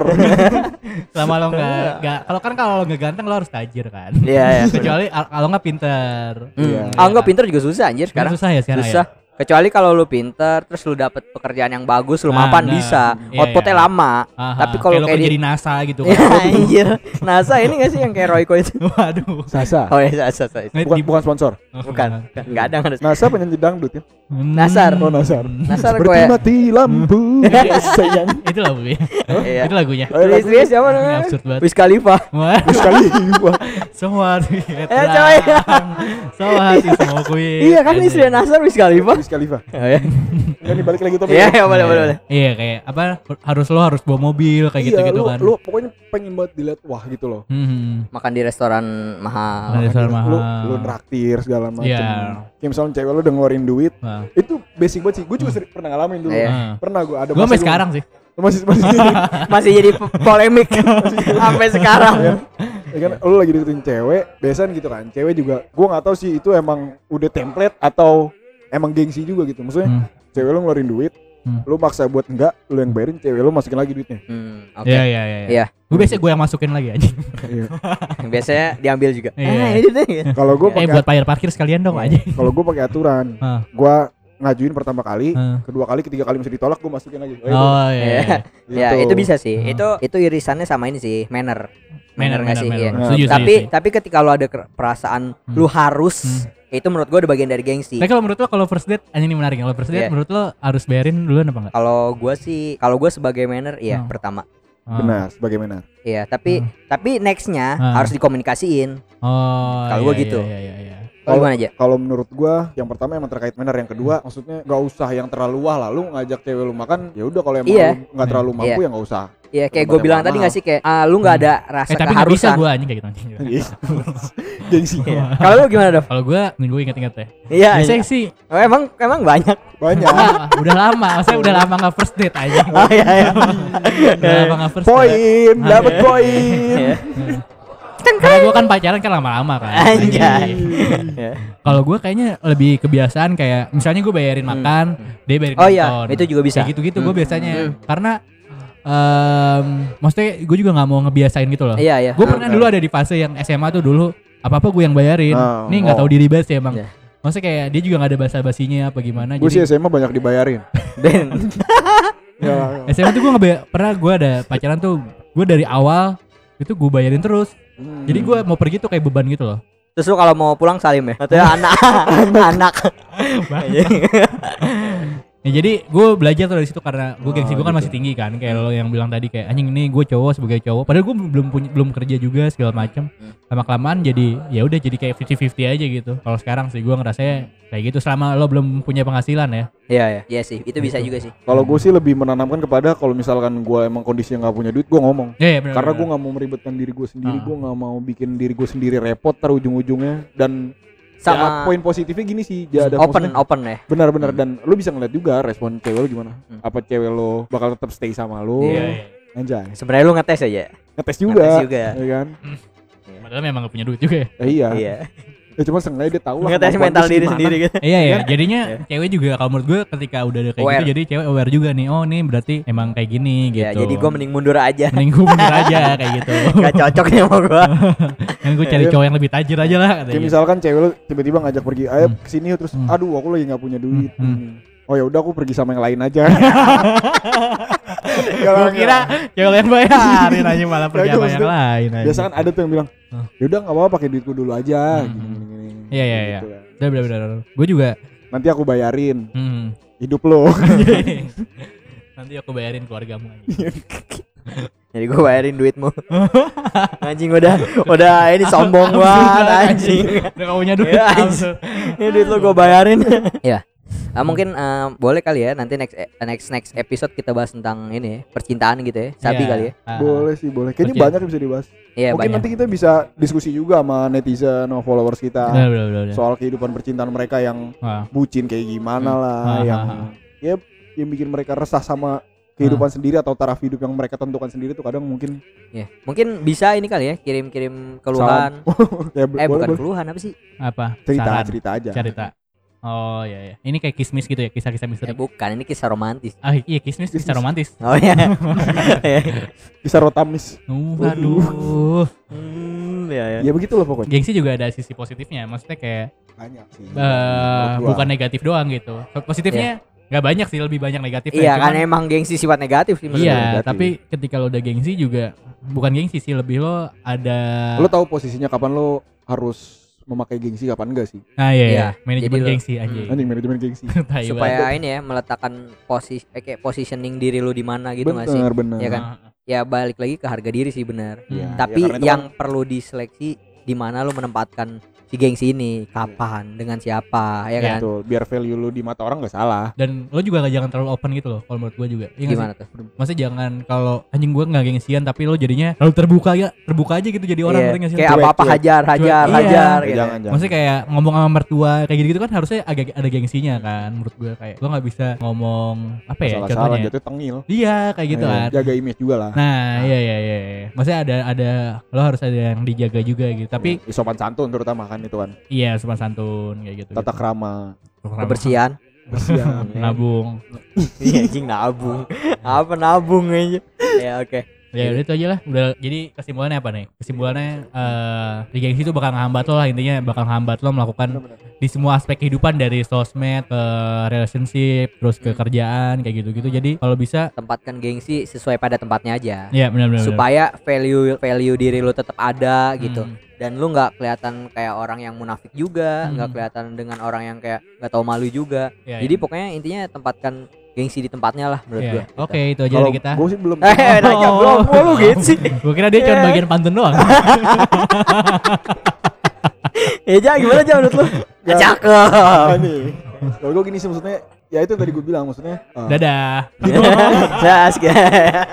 S3: Selama lo nggak nggak kalau kan kalau lo nggak ganteng lo harus tajir kan. [laughs]
S2: Iya, iya,
S3: Kecuali al- kalau nggak pinter.
S4: Iya.
S2: Hmm. Ah, enggak pinter juga susah anjir sekarang.
S3: susah ya sekarang
S2: Susah. Kecuali kalau lu pinter terus lu dapet pekerjaan yang bagus, lu
S3: Nah,
S2: mapan
S3: nah.
S2: bisa.
S3: Iya,
S2: Outputnya
S3: iya.
S2: lama.
S3: Aha,
S2: Tapi kalau
S3: lo
S2: kayak di [laughs]
S3: jadi NASA gitu
S2: Ya,
S3: kan. [laughs]
S2: anjir. NASA ini gak sih yang kayak Royko itu?
S3: Waduh.
S4: Sasa.
S2: Oh iya, NASA, NASA.
S3: Ngeliat
S4: Bukan
S3: di-
S4: bukan sponsor.
S3: Oh,
S2: Bukan. Enggak ada harus.
S3: Nah,
S4: NASA penyanyi dangdut ya.
S3: Hmm.
S2: Nasar.
S4: Oh Nasar.
S2: NASA
S4: Seperti
S2: gue.
S4: mati lampu. Sayang.
S3: Itu lagunya.
S2: Iya.
S3: Itu lagunya.
S4: Ayo, lagu.
S2: Istri siapa
S3: Ini
S2: namanya?
S3: absurd banget.
S2: Wiz Khalifa.
S3: Wah,
S4: Sekali. Wah,
S3: semua hati
S2: Eh, coy.
S3: Semua hati semua kue.
S2: Iya kan istri Nasar Wiz Khalifa.
S4: Wiz Khalifa.
S2: Oh, Iya,
S4: Enggak nih balik lagi topik.
S2: Iya, iya, boleh,
S3: Iya.
S2: boleh, boleh.
S3: Iya kayak apa harus lo harus bawa mobil kayak
S4: Iya,
S3: gitu-gitu
S4: lu,
S3: kan.
S4: lu pokoknya pengen banget dilihat wah gitu loh.
S3: Hmm.
S2: Makan di restoran mahal.
S3: Ada
S4: Lu,
S3: soal mahal.
S4: lu nraktir segala macam.
S3: Iya.
S4: Kayak misalnya cewek lu udah ngeluarin duit,
S3: Nah.
S4: itu basic banget sih. Gue juga sering- pernah ngalamin dulu.
S2: Iya.
S3: Nah.
S4: Pernah gue ada masa
S3: Gue Hmm. sampai
S4: gua-
S3: sekarang sih.
S4: masih masih
S2: Masih jadi po-
S3: [laughs]
S2: polemik sampai sekarang.
S4: ya, ya kan lu lagi deketin cewek biasanya gitu kan cewek juga gua nggak tahu sih itu emang udah template atau emang gengsi juga gitu maksudnya
S3: Hmm.
S4: cewek lu ngeluarin duit
S3: Hmm.
S4: lu maksa buat enggak lu yang bayarin cewek lu masukin lagi duitnya
S2: Hmm, oke.
S3: Iya iya iya.
S2: Iya.
S3: Gue biasanya gue yang masukin lagi aja.
S2: [laughs]
S4: Iya.
S2: Biasanya diambil juga.
S3: Iya.
S2: Ah, itu deh.
S4: kalau
S3: [laughs]
S4: gua
S3: eh
S4: pakai
S3: buat bayar parkir sekalian
S2: Iya.
S3: dong aja.
S2: [laughs]
S4: kalau gua pakai aturan
S3: Ah.
S4: gua ngajuin pertama kali
S3: Ah.
S4: kedua kali ketiga kali masih ditolak gua masukin lagi Gitu. Oh,
S3: Oh iya.
S2: Iya.
S3: iya.
S2: Ya, itu bisa sih.
S3: Ah.
S2: Itu itu irisannya sama ini sih, manner. Manner nggak sih? Iya.
S4: Nah,
S3: Setuju,
S2: Tapi
S3: setuju,
S2: tapi ketika lu ada ker- perasaan
S3: Hmm.
S2: lu harus itu menurut gua udah bagian dari
S3: setuju.
S2: gengsi.
S3: Tapi kalau menurut lo kalau first date ini menarik. ya. Kalau first date
S2: Iya.
S3: menurut lo harus bayarin duluan apa enggak?
S2: Kalau gua sih, kalau gua sebagai manner iya
S3: Hmm.
S2: pertama.
S3: Ah.
S4: benar sebagaimana
S2: Iya, tapi
S3: Hmm.
S2: tapi nextnya
S3: Ah.
S2: harus dikomunikasiin.
S3: Oh.
S2: Kalau
S3: iya,
S2: gua
S3: iya,
S2: gitu.
S3: Iya iya iya.
S2: Kalau
S4: Kalau-
S2: gimana aja?
S4: kalau menurut gua yang pertama emang terkait manner yang
S3: Hmm.
S4: kedua maksudnya nggak usah yang terlalu wah lah lu ngajak cewek lu makan ya udah kalau emang
S2: Iya.
S4: lu nggak terlalu mampu ya nggak usah
S2: Iya,
S4: Kalau
S2: kayak gua
S4: buat yang
S2: bilang tadi
S4: mahal.
S2: nggak sih kayak ah, lu nggak ada rasa
S3: Eh tapi nggak bisa
S2: keharusan.
S3: gue anjing kayak gitu. anjing.
S4: Iya.
S2: Iya.
S4: [laughs] gengsi
S3: Iya.
S2: Kalau lu gimana,
S3: [laughs]
S2: Dov?
S3: Kalau gue nih gue inget-inget ya.
S2: [laughs] Iya.
S3: Biasanya
S2: iya.
S4: [laughs]
S3: sih
S2: Oh, emang emang banyak.
S4: banyak
S3: ah, [laughs] udah lama, maksudnya udah lama nggak first date aja.
S2: Oh iya [laughs] iya.
S3: Udah lama nggak first date.
S4: poin
S3: Ah,
S4: dapat
S3: iya.
S4: poin
S3: Karena gue kan pacaran kan lama-lama kan.
S2: Anjay. Iya.
S3: Kalau gue kayaknya lebih kebiasaan kayak misalnya gue bayarin makan, dia bayarin
S2: Hmm. Oh iya,
S3: nonton.
S2: itu juga bisa.
S3: Kayak gitu-gitu gue
S2: Hmm.
S3: biasanya karena em, maksudnya gue juga nggak mau ngebiasain gitu loh.
S2: Iya, iya.
S3: Gue pernah dulu ada di fase yang SMA tuh dulu apa apa gue yang bayarin.
S4: Ah,
S3: Nih nggak
S4: oh.
S3: tahu diri banget sih emang.
S2: Iya.
S3: Maksudnya kayak dia juga nggak ada bahasa basinya apa gimana.
S4: gue sih SMA banyak dibayarin
S2: Ben.
S3: Iya.
S4: ya
S3: SMA tuh gue ngebay- pernah gue ada pacaran tuh gue dari awal itu gue bayarin terus.
S2: Hmm.
S3: Jadi gue mau pergi tuh kayak beban gitu loh.
S2: Terus lu kalau mau pulang salim ya? Atau anak [laughs] anak.
S3: Ya, jadi gue belajar tuh dari situ karena gue gengsi
S4: Oh,
S3: gue kan
S4: gitu.
S3: masih tinggi kan kayak lo yang bilang tadi kayak anjing ini gue cowok sebagai cowok padahal gue belum punya belum kerja juga segala macam lama kelamaan jadi ya udah jadi kayak 50-50 aja gitu kalau sekarang sih gue ngerasanya kayak gitu selama lo belum punya penghasilan ya
S2: Iya, iya. Iya sih, itu bisa juga sih.
S4: kalau gue sih lebih menanamkan kepada kalau misalkan gue emang kondisinya nggak punya duit gue ngomong
S3: ya, ya benar,
S4: karena
S3: benar.
S4: gue nggak mau meribetkan diri gue sendiri
S3: Ah.
S4: gue nggak mau bikin diri gue sendiri repot tar ujung-ujungnya dan ya,
S2: Sama
S4: poin positifnya gini sih ya ada
S2: open
S4: maksudnya-
S2: open ya.
S4: benar-benar
S2: Hmm.
S4: dan lu bisa ngeliat juga respon cewek lu gimana
S2: Hmm.
S4: apa cewek lu bakal tetap stay sama lu
S3: Iya, iya.
S4: anjay
S2: Sebenarnya lu ngetes ya, aja.
S4: ngetes juga
S2: Ngetes juga.
S4: ya kan
S3: padahal memang gak punya duit juga ya
S4: Eh, iya
S2: Iya.
S4: ya cuma sengaja dia tahu lah
S2: Ngetes
S4: kemampuan
S2: mental
S4: lu
S2: diri
S4: segimana.
S2: sendiri gitu.
S3: iya ya jadinya cewek juga kalau menurut gue ketika udah ada kayak
S2: Aware.
S3: gitu jadi cewek aware juga nih oh nih berarti emang kayak gini gitu
S2: Ya, jadi gua mending mundur [laughs] aja.
S3: mending gue mundur aja kayak gitu
S2: Gak cocok nih sama [laughs] gua.
S3: kan gue cari cowok yang lebih tajir aja lah katanya
S4: Kayak
S3: gitu.
S4: misalkan cewek lu tiba-tiba ngajak pergi, ayo
S3: Hmm.
S4: kesini yuk." terus
S3: Hmm.
S4: aduh aku lagi nggak punya duit.
S3: Hmm. Iya,
S4: Hmm. oh ya udah aku pergi sama yang lain
S3: [laughs]
S4: aja
S3: Gua
S4: Kalau
S3: kira cewek Ya, yang bayarin aja malah
S4: Ya,
S3: pergi
S4: itu
S3: sama yang
S4: maksudnya,
S3: lain aja.
S4: biasa kan ada tuh yang bilang
S3: iya. Hah.
S4: ya udah nggak apa-apa pakai duitku dulu aja
S3: Hmm.
S4: gini, gini, gini, gini.
S3: Iya, iya,
S4: Kayak
S3: iya.
S4: gitu kan.
S3: Udah bener bener. Gue juga.
S4: nanti aku bayarin
S3: Hmm. [laughs]
S4: hidup lo
S3: Nanti aku bayarin keluargamu aja.
S2: Jadi gue bayarin [laughs] duitmu. anjing udah udah ini sombong banget anjing.
S3: Udah kamu punya duit.
S2: Iya,
S3: langsung.
S2: ini duit lo gue [laughs] bayarin. ya. Ah, mungkin eh, boleh kali ya nanti next eh, next next episode kita bahas tentang ini ya, percintaan gitu ya. Sabi
S3: Iya.
S2: kali ya.
S4: [laughs]
S3: Ah.
S4: boleh sih boleh kayaknya
S3: Oke.
S4: banyak yang bisa dibahas
S2: Iya
S4: mungkin
S2: banyak.
S4: nanti kita bisa diskusi juga sama netizen sama followers
S3: Bener
S4: kita
S3: bener bener. bener.
S4: soal kehidupan percintaan mereka yang
S3: Wah.
S4: bucin kayak gimana lah
S3: Ah,
S4: yang
S3: ah,
S4: ya yang bikin mereka resah sama kehidupan sendiri atau taraf hidup yang mereka tentukan sendiri tuh kadang mungkin
S2: Iya. Mungkin bisa ini kali ya kirim-kirim
S4: [laughs]
S2: keluhan.
S4: ya bo- boleh,
S2: Eh bukan
S4: boleh.
S2: keluhan apa sih?
S3: Apa?
S4: cerita
S3: Saran.
S4: cerita aja
S3: Cerita. Oh iya iya. Ini kayak kismis gitu ya, kisah-kisah
S2: Eh,
S3: misteri.
S2: bukan, ini kisah romantis.
S3: Ah iya kismis,
S4: Kismis.
S3: kisah romantis.
S2: Oh iya.
S4: bisa rotamis
S3: Uh, aduh.
S2: hmm, ya ya.
S4: ya begitu loh pokoknya
S3: Gengsi juga ada sisi positifnya. Maksudnya kayak
S4: banyak sih
S3: eh
S4: Menurut gua.
S3: bukan negatif doang gitu. Positifnya nggak banyak sih, lebih banyak negatifnya.
S2: Iya
S3: Cuman-
S2: kan emang gengsi sifat negatif sih menurut
S3: Iya,
S4: negatif.
S3: tapi ketika lo udah gengsi juga bukan gengsi sih, lebih lo ada
S4: lo tahu posisinya kapan lo harus memakai gengsi kapan enggak sih
S3: Nah, iya,
S2: Iya,
S3: iya. manajemen
S2: jadi lo-
S3: gengsi aja.
S2: Hmm.
S4: anjing manajemen gengsi
S3: [laughs] Tai
S2: supaya ini ya meletakkan posisi eh, kayak positioning diri lu di mana gitu nggak sih
S4: bener bener
S2: Iya
S3: banget.
S2: kan? ya balik lagi ke harga diri sih benar
S4: Iya,
S3: Hmm.
S2: tapi
S4: karena itu
S2: yang perlu diseleksi di mana lu menempatkan si gengsi ini kapan dengan siapa ya
S3: Iya,
S2: kan
S4: Betul, biar value lo di mata orang nggak salah
S3: Dan lo juga gak jangan terlalu open gitu loh kalau menurut gue juga. Iya nggak
S2: gimana tuh
S3: sih? Maksudnya jangan kalau anjing gue gak gengsian tapi lo jadinya terlalu terbuka ya, terbuka aja gitu jadi orang
S2: Iya,
S3: ngerti nggak sih?
S2: kayak
S4: Cuek,
S2: apa apa
S4: cuek.
S2: hajar hajar
S3: Cuek.
S2: hajar
S4: Ya,
S2: gitu.
S4: jangan jangan
S3: Maksudnya kayak ngomong sama mertua kayak gitu-gitu kan harusnya agak ada gengsinya kan menurut gue kayak gue nggak bisa ngomong apa ya
S4: salah salah
S3: contohnya.
S2: gitu.
S4: jatuh tengil
S3: Iya kayak gitu
S4: Iya,
S3: kan.
S4: jaga image juga lah
S3: Nah, iya iya iya. iya. Maksudnya ada ada lo harus ada yang dijaga juga gitu. Tapi
S4: Iya, sopan santun terutama kan itu kan
S3: iya sopan santun kayak gitu.
S4: tata
S3: gitu.
S4: [laughs] krama
S2: kebersihan
S4: bersihan
S3: nabung.
S2: Iya, anjing nabung apa nabung aja ya oke
S3: Ya udah itu aja lah. Udah jadi kesimpulannya apa nih? Kesimpulannya eh di gengsi itu bakal ngehambat lo lah intinya bakal ngehambat lo melakukan di semua aspek kehidupan dari sosmed ke relationship terus ke
S2: Hmm.
S3: kerjaan kayak gitu-gitu. Jadi kalau bisa
S2: tempatkan gengsi sesuai pada tempatnya aja
S3: ya benar-benar
S2: supaya value value diri lu tetap ada gitu dan lu nggak kelihatan kayak orang yang munafik juga
S3: Hmm. Iya,
S2: nggak kelihatan dengan orang yang kayak nggak tahu malu juga
S3: Ya,
S2: jadi pokoknya intinya tempatkan gengsi di tempatnya lah menurut gua gitu.
S3: Oke, itu aja
S4: kalau
S3: dari kita.
S4: gue sih belum
S2: eh nanya gitu
S3: Oh.
S2: belum Wah, lu gengsi
S3: [laughs] Gue kira dia cuma bagian pantun doang. [laughs]
S2: ya Ja, gimana aja menurut lu
S4: Ya.
S3: [laughs]
S2: cakep
S4: Ah, nih. Kalau gue gini sih maksudnya, ya itu yang tadi gue bilang maksudnya eh,
S3: Dadah. kan?
S2: Jas, kayak-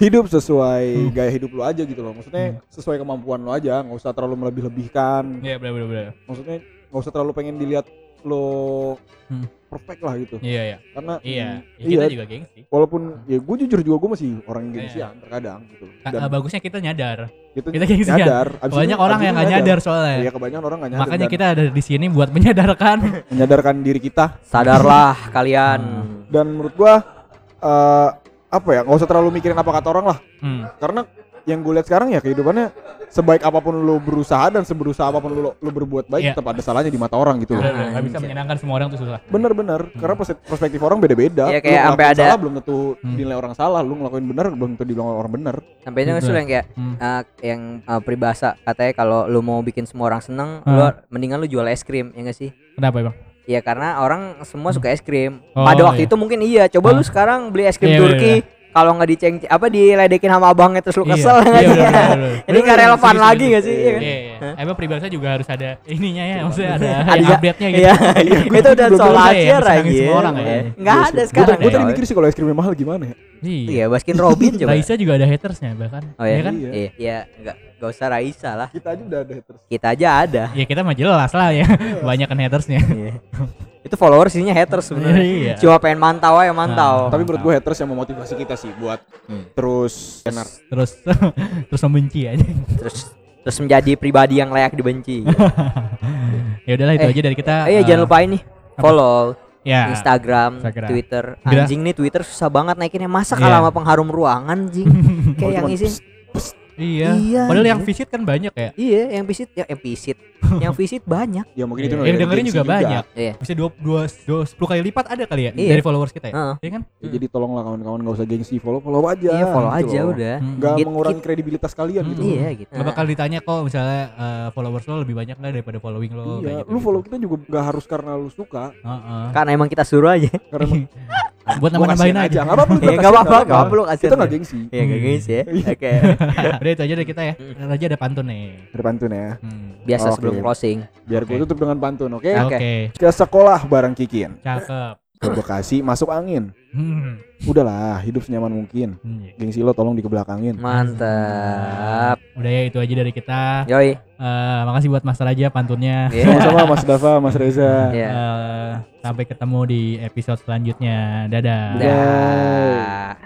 S4: hidup
S3: Hmm.
S4: sesuai gaya hidup lo aja gitu loh. Maksudnya sesuai kemampuan lo aja, nggak usah terlalu melebih-lebihkan.
S3: Iya, benar-benar.
S4: Maksudnya nggak usah terlalu pengen dilihat lo
S3: Hmm.
S4: perfect lah gitu.
S3: Iya, iya.
S4: Karena
S3: Iya, ya,
S4: mm,
S3: kita
S4: iya.
S3: juga gengsi.
S4: Walaupun ya gue jujur juga gue masih orang yang
S3: Iya.
S4: gengsian terkadang gitu. loh.
S3: Ka- eh, bagusnya kita nyadar.
S4: gitu
S3: kita gengsian.
S4: nyadar. Abis
S3: Banyak
S4: itu-
S3: orang
S4: abis
S3: yang
S4: itu
S3: nggak nyadar soalnya.
S4: Iya kebanyakan orang nggak nyadar.
S3: Makanya
S4: dan
S3: kita ada di sini buat
S2: [laughs]
S3: menyadarkan.
S4: menyadarkan diri kita.
S3: [laughs]
S2: sadarlah kalian
S3: Hmm.
S4: Dan menurut gue eh, apa ya nggak usah terlalu mikirin apa kata orang lah.
S3: Hmm.
S4: karena yang gue lihat sekarang ya kehidupannya sebaik apapun lo berusaha dan seberusaha apapun lo lo berbuat
S3: Iya.
S4: baik tetap ada salahnya di mata orang
S2: Iya,
S4: gitu
S3: Bener,
S4: loh.
S3: bener. Nggak bisa menyenangkan semua orang tuh susah.
S4: Bener-bener karena perse- perspektif orang beda-beda.
S2: Iya,
S4: Lo
S2: kayak sampai
S4: ngelakuin
S2: ada-
S4: salah belum tentu
S3: Hmm.
S4: dinilai orang salah, lu ngelakuin bener belum tentu dibilang orang bener.
S2: sampai itu
S3: Betul.
S2: yang kayak
S3: Hmm.
S2: eh, yang eh, peribahasa katanya kalau lu mau bikin semua orang seneng
S3: Hmm.
S2: lu mendingan lu jual es krim ya nggak sih
S3: Kenapa emang?
S2: Iya karena orang semua suka es krim.
S3: Oh,
S2: Pada waktu
S3: iya.
S2: itu mungkin iya. Coba lu
S3: Ah.
S2: sekarang beli es krim
S3: Iya, iya,
S2: Turki,
S3: iya.
S2: kalau nggak diceng apa diledekin sama abangnya terus lu kesel ya nggak sih? Ini nggak relevan lagi nggak sih? Iya kan?
S3: Iya, iya. Emang peribahasa juga harus ada ininya ya, maksudnya ada
S2: [laughs] Ada-
S3: update-nya gitu. [laughs]
S2: Iya. Itu udah
S4: belum
S2: soal
S3: selesai ya,
S2: aja
S3: disenangin
S2: lagi.
S3: semua orang ya.
S2: Nggak ada sekarang.
S4: Gue tadi
S3: Iya.
S2: ya.
S4: mikir sih kalau es krimnya mahal gimana ya.
S2: Iya, Baskin Robin coba.
S3: Raisa juga ada hatersnya bahkan.
S2: Oh iya
S3: Ya kan?
S4: Iya.
S2: Iya, iya, enggak enggak usah Raisa lah.
S4: Kita aja udah ada haters.
S2: Kita aja ada.
S3: Ya kita mah jelas lah
S2: [laughs]
S3: ya, banyak kan hatersnya.
S2: Iya. Itu followers isinya haters sebenarnya.
S3: Iya.
S2: Cuma pengen mantau aja
S3: Oh,
S2: mantau.
S4: Tapi menurut gue haters yang memotivasi kita sih buat
S3: Hmm.
S4: terus enak.
S3: Terus [laughs] terus membenci aja.
S2: Terus terus menjadi pribadi yang layak dibenci.
S3: Ya udahlah itu
S2: Eh,
S3: aja dari kita.
S2: Eh, iya jangan
S3: lupa.
S2: lupa ini follow Ah.
S3: Ya.
S2: Instagram,
S3: Instagram.
S2: Twitter.
S3: Gra-
S2: Anjing nih Twitter susah banget naikinnya. Masa
S3: Iya.
S2: kalah sama pengharum ruangan anjing. [laughs] Kayak yang
S4: cuman
S2: isi.
S3: Iya.
S2: Iya,
S3: Padahal yang
S2: iya.
S3: visit kan banyak ya.
S2: Iya, yang visit ya yang visit. [laughs] yang visit banyak
S4: ya mungkin itu
S3: Iya,
S4: namanya
S3: yang dengerin
S4: urgensi
S3: juga banyak.
S2: Iya.
S3: Bisa dua, dua, dua, sepuluh kali lipat ada kali ya
S2: Iya.
S3: dari followers kita ya.
S2: Heeh.
S3: Iya kan?
S4: Ya, jadi tolonglah kawan-kawan nggak usah gengsi follow follow aja
S2: iya follow
S4: gitu
S2: aja
S4: loh.
S2: udah
S3: Hmm.
S4: nggak
S2: Git-
S4: mengurangi
S2: git-
S4: kredibilitas kalian gitu
S2: iya gitu
S3: Gak bakal ditanya kok misalnya eh, followers lo lebih banyak nggak daripada following
S2: Oh,
S3: lo.
S4: iya
S3: kayak gitu.
S4: lu follow kita juga nggak harus karena lu suka
S3: Heeh.
S2: karena emang kita suruh aja [laughs]
S4: karena emang
S3: Buat
S4: Ah, gua
S3: nambah-nambahin
S4: kasihan
S3: aja.
S4: nggak apa-apa lu
S2: Iya,
S4: kasihan,
S2: nggak apa-apa, nggak apa-apa, lu kasihan
S4: kita nggak
S2: aja.
S4: gengsi
S2: ya gak
S3: Hmm.
S2: guys ya oke
S3: [laughs] Udah itu aja deh kita ya. Raja ada pantun nih.
S4: ada pantun ya
S3: Hmm.
S2: biasa
S4: Oke.
S2: sebelum closing
S4: biar gue
S3: Oke.
S4: tutup dengan pantun oke
S2: Oke.
S3: Oke.
S4: ke sekolah bareng Kikin
S3: Cakep.
S4: ke Bekasi masuk angin
S3: Hmm.
S4: udahlah hidup senyaman mungkin
S3: Hmm.
S4: gengsi lo tolong dikebelakangin
S2: mantap
S3: Udah ya itu aja dari kita.
S2: yoi
S3: Eh, makasih buat Mas Raja pantunnya.
S2: Iya.
S4: sama-sama Mas Dava Mas Reza
S2: Iya.
S3: Eh, sampai ketemu di episode selanjutnya. Dadah.
S4: Dadah.
S2: Dah.